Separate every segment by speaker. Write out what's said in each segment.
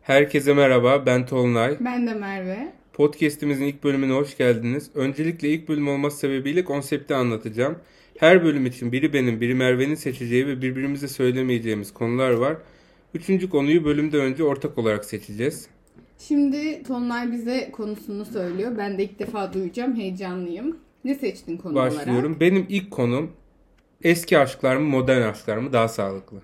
Speaker 1: Herkese merhaba, ben Tolunay.
Speaker 2: Ben de Merve.
Speaker 1: Podcast'imizin ilk bölümüne hoş geldiniz. Öncelikle ilk bölüm olması sebebiyle konsepti anlatacağım. Her bölüm için biri benim, biri Merve'nin seçeceği ve birbirimize söylemeyeceğimiz konular var. Üçüncü konuyu bölümden önce ortak olarak seçeceğiz.
Speaker 2: Şimdi Tonlay bize konusunu söylüyor. Ben de ilk defa duyacağım. Heyecanlıyım. Ne seçtin konu
Speaker 1: Başlıyorum.
Speaker 2: olarak?
Speaker 1: Benim ilk konum eski aşklar mı, modern aşklar mı daha sağlıklı?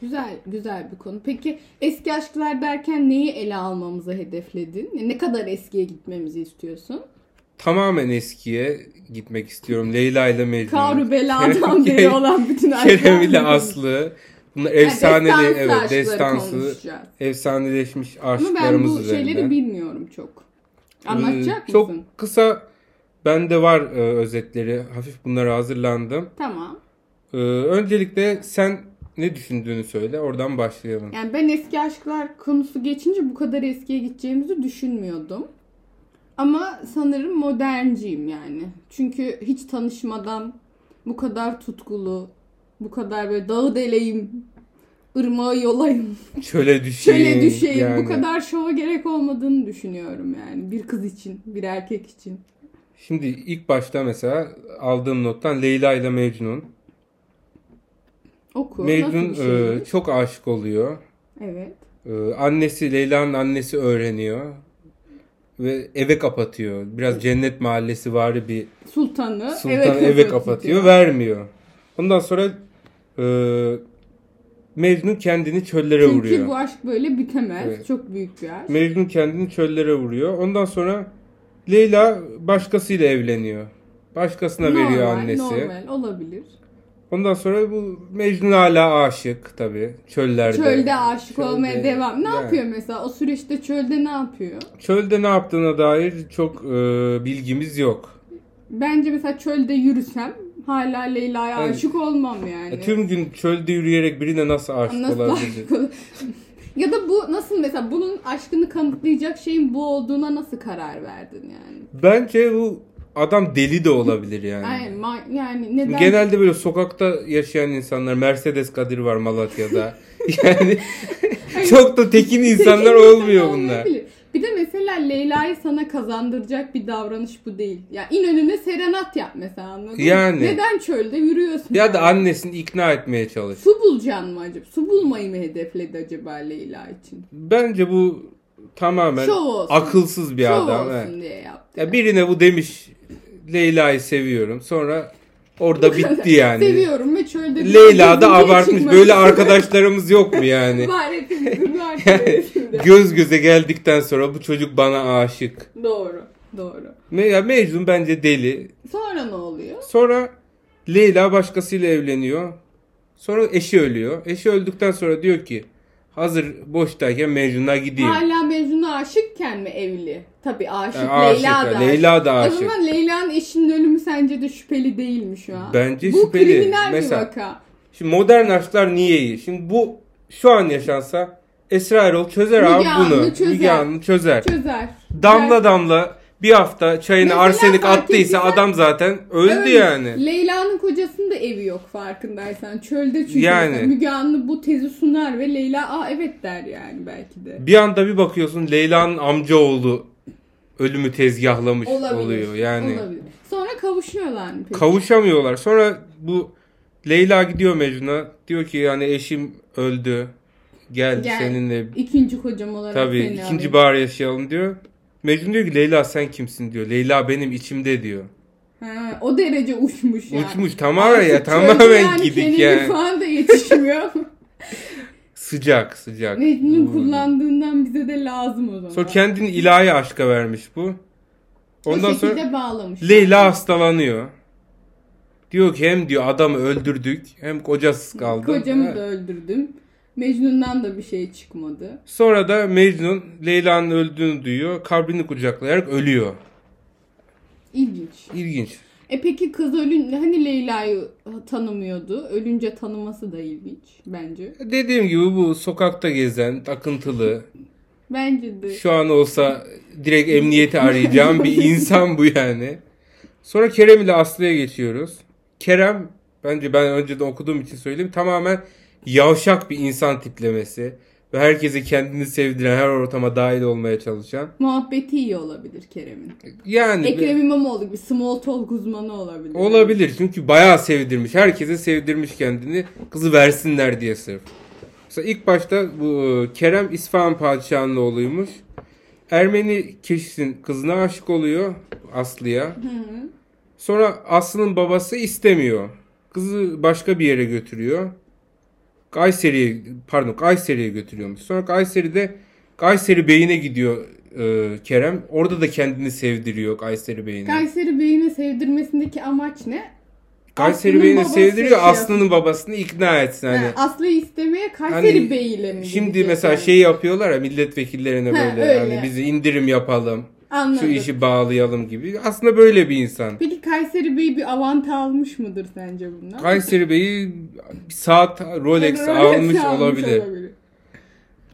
Speaker 2: Güzel, güzel bir konu. Peki eski aşklar derken neyi ele almamızı hedefledin? Ne kadar eskiye gitmemizi istiyorsun?
Speaker 1: Tamamen eskiye gitmek istiyorum. Leyla ile Mecnun.
Speaker 2: Karu beladan beri olan bütün aşklar.
Speaker 1: Kerem ile Aslı. Bunlar
Speaker 2: Yani
Speaker 1: efsaneli,
Speaker 2: destansı
Speaker 1: evet,
Speaker 2: aşkları
Speaker 1: destansı.
Speaker 2: konuşacağız.
Speaker 1: efsaneleşmiş
Speaker 2: Ama ben
Speaker 1: aşklarımız
Speaker 2: bu
Speaker 1: üzerinden.
Speaker 2: şeyleri bilmiyorum çok. Anlatacak
Speaker 1: Ee, çok
Speaker 2: mısın?
Speaker 1: kısa bende var e, özetleri. Hafif bunlara hazırlandım.
Speaker 2: Tamam.
Speaker 1: Ee, öncelikle sen ne düşündüğünü söyle. Oradan başlayalım.
Speaker 2: Yani ben eski aşklar konusu geçince bu kadar eskiye gideceğimizi düşünmüyordum. Ama sanırım modernciyim yani. Çünkü hiç tanışmadan bu kadar tutkulu, bu kadar böyle dağı deleyim, ırmağı yolayım,
Speaker 1: Şöyle düşeyim.
Speaker 2: şöyle düşeyim.
Speaker 1: yani.
Speaker 2: Bu kadar şova gerek olmadığını düşünüyorum yani. Bir kız için, bir erkek için.
Speaker 1: Şimdi ilk başta mesela aldığım nottan Leyla ile Mecnun.
Speaker 2: Oku.
Speaker 1: Mecnun
Speaker 2: nasıl bir şey?
Speaker 1: e, çok aşık oluyor.
Speaker 2: Evet.
Speaker 1: Ee, annesi Leyla'nın annesi öğreniyor ve eve kapatıyor. Biraz cennet mahallesi vari bir
Speaker 2: Sultanı,
Speaker 1: sultan
Speaker 2: eve
Speaker 1: eve,
Speaker 2: kapatıyor.
Speaker 1: kapatıyor, vermiyor. Ondan sonra e, Mecnun kendini çöllere
Speaker 2: Çünkü
Speaker 1: vuruyor.
Speaker 2: bu aşk böyle bitemez.
Speaker 1: Evet.
Speaker 2: Çok büyük bir aşk.
Speaker 1: Mecnun kendini çöllere vuruyor. Ondan sonra Leyla başkasıyla evleniyor. Başkasına veriyor annesi.
Speaker 2: Normal olabilir.
Speaker 1: Ondan sonra bu Mecnun hala aşık tabii çöllerde.
Speaker 2: Çölde aşık
Speaker 1: Çölde-
Speaker 2: olmaya devam. Ne
Speaker 1: Yani.
Speaker 2: yapıyor mesela? O süreçte çölde ne yapıyor?
Speaker 1: Çölde ne yaptığına dair çok e, bilgimiz yok.
Speaker 2: Bence mesela çölde yürüsem hala Leyla'ya
Speaker 1: Evet.
Speaker 2: aşık olmam yani.
Speaker 1: Ya E, Tüm gün çölde yürüyerek birine nasıl aşık
Speaker 2: Nasıl
Speaker 1: olabilir?
Speaker 2: aşık olur? ya da bu nasıl mesela bunun aşkını kanıtlayacak şeyin bu olduğuna nasıl karar verdin yani?
Speaker 1: Bence bu adam deli de olabilir yani.
Speaker 2: Yani, ma- yani neden?
Speaker 1: Genelde böyle sokakta yaşayan insanlar Mercedes Kadir var Malatya'da. yani çok da tekin insanlar
Speaker 2: Tekin insan
Speaker 1: olmuyor bunlar.
Speaker 2: olmayabilir. Bir de mesela Leyla'yı sana kazandıracak bir davranış bu değil. Ya in önüne serenat yap mesela anladın mı?
Speaker 1: Yani.
Speaker 2: Neden çölde yürüyorsun?
Speaker 1: Ya da annesini ikna etmeye çalış.
Speaker 2: Su bulacaksın mı acaba? Su bulmayı mı hedefledi acaba Leyla için?
Speaker 1: Bence bu tamamen
Speaker 2: Şov olsun.
Speaker 1: akılsız bir
Speaker 2: Şov
Speaker 1: adam.
Speaker 2: olsun
Speaker 1: evet.
Speaker 2: diye yaptı.
Speaker 1: Ya birine bu demiş Leyla'yı seviyorum. Sonra orada bitti yani.
Speaker 2: Seviyorum ve çölde...
Speaker 1: Leyla da
Speaker 2: Niye
Speaker 1: abartmış.
Speaker 2: çıkmak
Speaker 1: Böyle
Speaker 2: istedim?
Speaker 1: arkadaşlarımız yok mu yani?
Speaker 2: Var hepimizin var çevresinde.
Speaker 1: Göz göze geldikten sonra bu çocuk bana aşık.
Speaker 2: Doğru. Doğru.
Speaker 1: Me ya Mecnun bence deli.
Speaker 2: Sonra ne oluyor?
Speaker 1: Sonra Leyla başkasıyla evleniyor. Sonra eşi ölüyor. Eşi öldükten sonra diyor ki hazır boştayken Mecnun'a gideyim.
Speaker 2: Hala Mezun'a aşıkken mi evli? Tabii aşık.
Speaker 1: Yani
Speaker 2: Leyla da
Speaker 1: ya,
Speaker 2: aşık.
Speaker 1: Leyla da
Speaker 2: O
Speaker 1: aşık.
Speaker 2: zaman Leyla'nın eşinin ölümü sence de şüpheli değil mi şu an?
Speaker 1: Bence
Speaker 2: Bu
Speaker 1: şüpheli.
Speaker 2: kriminal
Speaker 1: Mesela-
Speaker 2: bir vaka.
Speaker 1: Şimdi modern aşklar niye iyi? Şimdi bu şu an yaşansa Esra Erol çözer
Speaker 2: Müge
Speaker 1: abi
Speaker 2: Anlı
Speaker 1: bunu.
Speaker 2: çözer.
Speaker 1: Müge Anlı çözer.
Speaker 2: Çözer.
Speaker 1: Damla damla bir hafta çayına
Speaker 2: Mesela
Speaker 1: arsenik
Speaker 2: fark
Speaker 1: attıysa
Speaker 2: ettiysen-
Speaker 1: adam zaten öldü
Speaker 2: Öyle.
Speaker 1: yani.
Speaker 2: Leyla'nın kocasının da evi yok farkındaysan. Çölde çünkü
Speaker 1: Yani.
Speaker 2: mesela Müge Anlı bu tezi sunar ve Leyla aa evet der yani belki de.
Speaker 1: Bir anda bir bakıyorsun Leyla'nın amcaoğlu ölümü tezgahlamış
Speaker 2: Olabilir.
Speaker 1: oluyor yani.
Speaker 2: Olabilir. Sonra kavuşuyorlar mı peki?
Speaker 1: Kavuşamıyorlar. Sonra bu Leyla gidiyor Mecnun'a. Diyor ki yani eşim öldü. Gel,
Speaker 2: Gel.
Speaker 1: seninle
Speaker 2: İkinci kocam olarak
Speaker 1: tabii
Speaker 2: seni
Speaker 1: ikinci
Speaker 2: alayım.
Speaker 1: bahar yaşayalım diyor. Mecnun diyor ki Leyla sen kimsin diyor. Leyla benim içimde diyor.
Speaker 2: Ha, o derece uçmuş yani.
Speaker 1: Uçmuş tamamen ya
Speaker 2: Artık çölde
Speaker 1: tamamen
Speaker 2: yani
Speaker 1: gidik
Speaker 2: kendini
Speaker 1: yani.
Speaker 2: falan da yetişmiyor.
Speaker 1: Sıcak sıcak.
Speaker 2: Necmi'nin
Speaker 1: Bu-
Speaker 2: kullandığından bize de lazım o zaman.
Speaker 1: Sonra kendini ilahi aşka vermiş bu. Ondan
Speaker 2: o
Speaker 1: sonra
Speaker 2: şekilde bağlamış.
Speaker 1: Leyla hastalanıyor. Diyor ki hem diyor adamı öldürdük hem kocasız kaldı.
Speaker 2: Kocamı
Speaker 1: Ha.
Speaker 2: da öldürdüm. Mecnun'dan da bir şey çıkmadı.
Speaker 1: Sonra da Mecnun Leyla'nın öldüğünü duyuyor. Kabrini kucaklayarak ölüyor.
Speaker 2: İlginç.
Speaker 1: İlginç.
Speaker 2: E peki kız ölün hani Leyla'yı tanımıyordu. Ölünce tanıması da ilginç bence.
Speaker 1: Dediğim gibi bu sokakta gezen, takıntılı,
Speaker 2: Bence de.
Speaker 1: şu an olsa direkt emniyeti arayacağım bir insan bu yani. Sonra Kerem ile Aslı'ya geçiyoruz. Kerem bence ben önceden okuduğum için söyleyeyim tamamen yavşak bir insan tiplemesi. ve herkese kendini sevdiren, her ortama dahil olmaya çalışan.
Speaker 2: Muhabbeti iyi olabilir Kerem'in.
Speaker 1: E, Yani bir-
Speaker 2: Ekrem İmamoğlu gibi small talk uzmanı olabilir.
Speaker 1: olabilir çünkü bayağı sevdirmiş. Herkese sevdirmiş kendini. Kızı versinler diye sırf. Mesela ilk başta bu e, Kerem İsfahan padişahının oğluymuş. Ermeni kişinin kızına aşık oluyor Aslı'ya.
Speaker 2: Hı hı.
Speaker 1: Sonra Aslı'nın babası istemiyor. Kızı başka bir yere götürüyor. Kayseri'ye pardon Kayseri'ye götürüyormuş. Sonra Kayseri'de Kayseri Bey'ine gidiyor e, Kerem. Orada da kendini sevdiriyor Kayseri Bey'ine.
Speaker 2: Kayseri Bey'ine sevdirmesindeki amaç ne?
Speaker 1: Kayseri
Speaker 2: Aslı'nın
Speaker 1: Bey'ine
Speaker 2: babası
Speaker 1: sevdiriyor.
Speaker 2: şey
Speaker 1: Aslı'nın babasını ikna etsin. Hani,
Speaker 2: Ha, Aslı'yı istemeye Kayseri
Speaker 1: Hani
Speaker 2: Bey'iyle mi?
Speaker 1: Şimdi
Speaker 2: gidecek
Speaker 1: mesela
Speaker 2: yani?
Speaker 1: şey yapıyorlar ya milletvekillerine
Speaker 2: Ha,
Speaker 1: böyle
Speaker 2: öyle.
Speaker 1: hani bizi indirim yapalım. Şu
Speaker 2: Anladım.
Speaker 1: işi bağlayalım gibi. Aslında böyle bir insan.
Speaker 2: Peki Kayseri Bey bir avant almış mıdır sence bundan?
Speaker 1: Kayseri Bey'i bir saat Rolex,
Speaker 2: Rolex
Speaker 1: almış olabilir.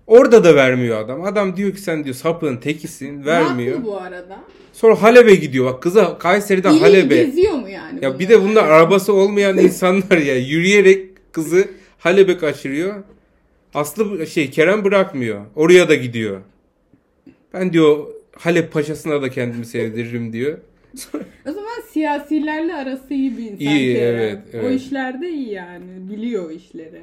Speaker 1: Orada da vermiyor adam. Adam diyor ki sen diyor sapığın tekisin vermiyor.
Speaker 2: Haklı bu arada.
Speaker 1: Sonra Halep'e gidiyor. Bak kıza Kayseri'den
Speaker 2: İyi
Speaker 1: Halep'e.
Speaker 2: geziyor mu yani?
Speaker 1: Ya
Speaker 2: bunlar?
Speaker 1: bir de bunlar arabası olmayan insanlar ya. Yürüyerek kızı Halep'e kaçırıyor. Aslı şey Kerem bırakmıyor. Oraya da gidiyor. Ben diyor Halep paşasına da kendimi sevdiririm diyor.
Speaker 2: O zaman siyasilerle arası iyi bir insan.
Speaker 1: İyi,
Speaker 2: Kerem.
Speaker 1: evet,
Speaker 2: O
Speaker 1: evet.
Speaker 2: işlerde iyi yani. Biliyor o işleri.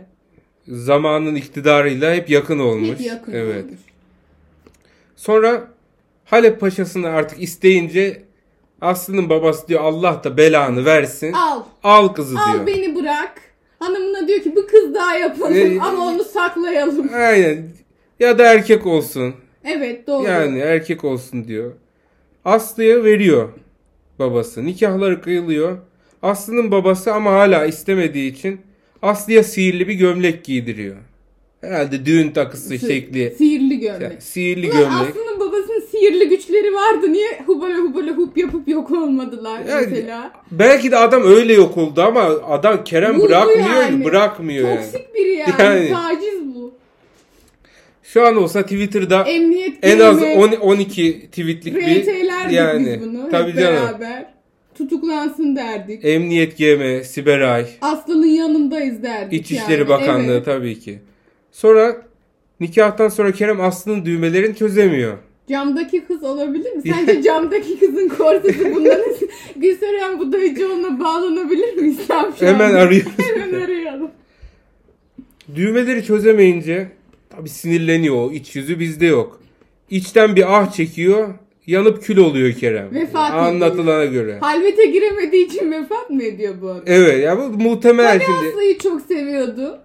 Speaker 1: Zamanın iktidarıyla hep yakın olmuş.
Speaker 2: Hep yakın
Speaker 1: evet.
Speaker 2: olmuş.
Speaker 1: Sonra Halep paşasını artık isteyince Aslı'nın babası diyor Allah da belanı versin.
Speaker 2: Al.
Speaker 1: Al kızı
Speaker 2: Al
Speaker 1: diyor.
Speaker 2: beni bırak. Hanımına diyor ki bu kız daha yapalım
Speaker 1: Ee,
Speaker 2: ama onu saklayalım.
Speaker 1: Aynen. Ya da erkek olsun.
Speaker 2: Evet doğru.
Speaker 1: Yani erkek olsun diyor. Aslı'ya veriyor babası. Nikahları kıyılıyor. Aslı'nın babası ama hala istemediği için Aslı'ya sihirli bir gömlek giydiriyor. Herhalde düğün takısı
Speaker 2: Si-
Speaker 1: şekli.
Speaker 2: Sihirli gömlek.
Speaker 1: Sihirli
Speaker 2: Şey- Ulan
Speaker 1: gömlek.
Speaker 2: Aslı'nın babasının sihirli güçleri vardı. Niye hubala hubala hup yapıp yok olmadılar
Speaker 1: Yani
Speaker 2: mesela?
Speaker 1: Belki de adam öyle yok oldu ama adam Kerem
Speaker 2: Vurdu
Speaker 1: bırakmıyor,
Speaker 2: yani.
Speaker 1: bırakmıyor yani.
Speaker 2: Toksik biri yani.
Speaker 1: Yani.
Speaker 2: Taciz bu.
Speaker 1: Şu an olsa Twitter'da
Speaker 2: Emniyet
Speaker 1: en az
Speaker 2: birimi,
Speaker 1: 10 12 tweetlik bir
Speaker 2: RT'lerdik
Speaker 1: yani
Speaker 2: biz bunu
Speaker 1: tabii
Speaker 2: hep
Speaker 1: canım.
Speaker 2: beraber. Tutuklansın derdik.
Speaker 1: Emniyet GM, Siberay,
Speaker 2: Aslı'nın yanındayız derdik
Speaker 1: İçişleri
Speaker 2: yani.
Speaker 1: Bakanlığı
Speaker 2: Evet.
Speaker 1: tabii ki. Sonra nikahtan sonra Kerem Aslı'nın düğmelerini çözemiyor.
Speaker 2: Camdaki kız olabilir mi? Sence camdaki kızın korsesi bundan Gülseren Budayıcıoğlu'na bağlanabilir mi İslam şu
Speaker 1: Hemen
Speaker 2: anda?
Speaker 1: arıyoruz.
Speaker 2: Hemen arayalım.
Speaker 1: Düğmeleri çözemeyince tabii sinirleniyor. O iç yüzü bizde yok. İçten bir ah çekiyor. Yanıp kül oluyor Kerem.
Speaker 2: Vefat
Speaker 1: Anlatılana göre.
Speaker 2: Halvete giremediği için vefat mı ediyor bu adam?
Speaker 1: Evet ya bu muhtemel şimdi.
Speaker 2: Aslı'yı çok seviyordu.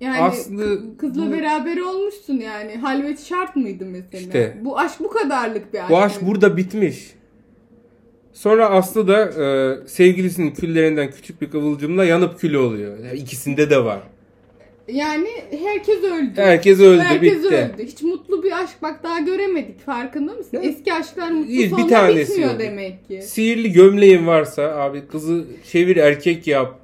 Speaker 2: Yani
Speaker 1: Aslı-
Speaker 2: kı- kızla beraber olmuşsun yani. Halvet şart mıydı mesela?
Speaker 1: İşte.
Speaker 2: Bu aşk bu kadarlık bir aşk.
Speaker 1: Bu aşk
Speaker 2: mıydı?
Speaker 1: burada bitmiş. Sonra Aslı da e, sevgilisinin küllerinden küçük bir kıvılcımla yanıp kül oluyor. Ya İkisinde de var.
Speaker 2: Yani herkes öldü.
Speaker 1: Herkes öldü
Speaker 2: Herkes
Speaker 1: bitti.
Speaker 2: öldü. Hiç mutlu bir aşk bak daha göremedik farkında mısın?
Speaker 1: Ya,
Speaker 2: Eski aşklar mutlu
Speaker 1: iyi, bir
Speaker 2: sonla
Speaker 1: tanesi
Speaker 2: bitmiyor
Speaker 1: oldu.
Speaker 2: demek ki.
Speaker 1: Sihirli gömleğin varsa abi kızı çevir erkek yap.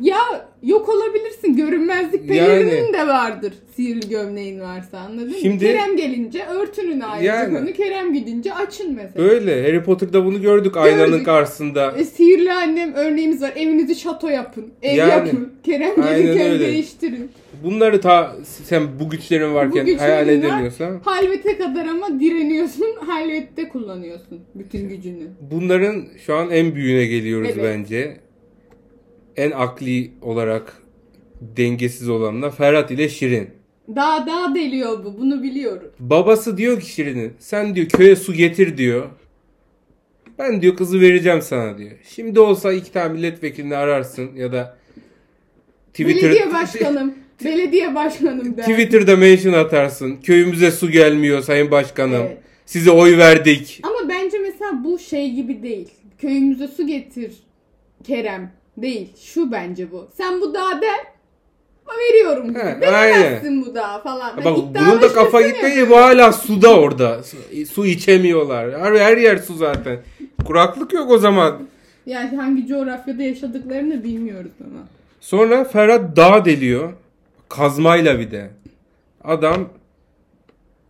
Speaker 2: Ya yok olabilirsin. Görünmezlik
Speaker 1: Yani.
Speaker 2: pelerinin de vardır. Sihirli gömleğin varsa anladın mı?
Speaker 1: Şimdi-
Speaker 2: Kerem gelince örtünün ayrıca
Speaker 1: Yani.
Speaker 2: bunu. Kerem gidince açın mesela.
Speaker 1: Böyle Harry Potter'da bunu gördük aynanın
Speaker 2: Gördük.
Speaker 1: karşısında.
Speaker 2: E, Sihirli annem örneğimiz var. Evinizi şato yapın. Ev
Speaker 1: Yani.
Speaker 2: yapın. Kerem
Speaker 1: Aynen
Speaker 2: gelirken
Speaker 1: öyle.
Speaker 2: değiştirin.
Speaker 1: Bunları ta sen bu güçlerin varken
Speaker 2: güçlerin
Speaker 1: hayal
Speaker 2: var.
Speaker 1: edemiyorsan
Speaker 2: Halvete kadar ama direniyorsun. Halvette kullanıyorsun bütün gücünü.
Speaker 1: bunların şu an en büyüğüne geliyoruz
Speaker 2: Evet.
Speaker 1: bence. En akli olarak dengesiz olanla Ferhat ile Şirin.
Speaker 2: Daha daha deliyor bu. Bunu biliyorum.
Speaker 1: Babası diyor ki Şirin'e sen diyor köye su getir diyor. Ben diyor kızı vereceğim sana diyor. Şimdi olsa iki tane milletvekilini ararsın ya da Twitter,
Speaker 2: Belediye başkanım. belediye başkanım der.
Speaker 1: Twitter'da mention atarsın. Köyümüze su gelmiyor sayın başkanım.
Speaker 2: Evet.
Speaker 1: Size oy verdik.
Speaker 2: Ama bence mesela bu şey gibi değil. Köyümüze su getir Kerem. Değil. Şu bence bu. Sen bu daha der. Veriyorum.
Speaker 1: He,
Speaker 2: Veremezsin bu daha falan. Ben
Speaker 1: Bak
Speaker 2: iddialı
Speaker 1: bunun da kafa
Speaker 2: şaşırıyorum.
Speaker 1: gitmeye bu hala suda orada. Su, su içemiyorlar. Her, her yer su zaten. Kuraklık yok o zaman.
Speaker 2: Yani hangi coğrafyada yaşadıklarını bilmiyoruz ama.
Speaker 1: Sonra Ferhat dağ deliyor. Kazmayla bir de. Adam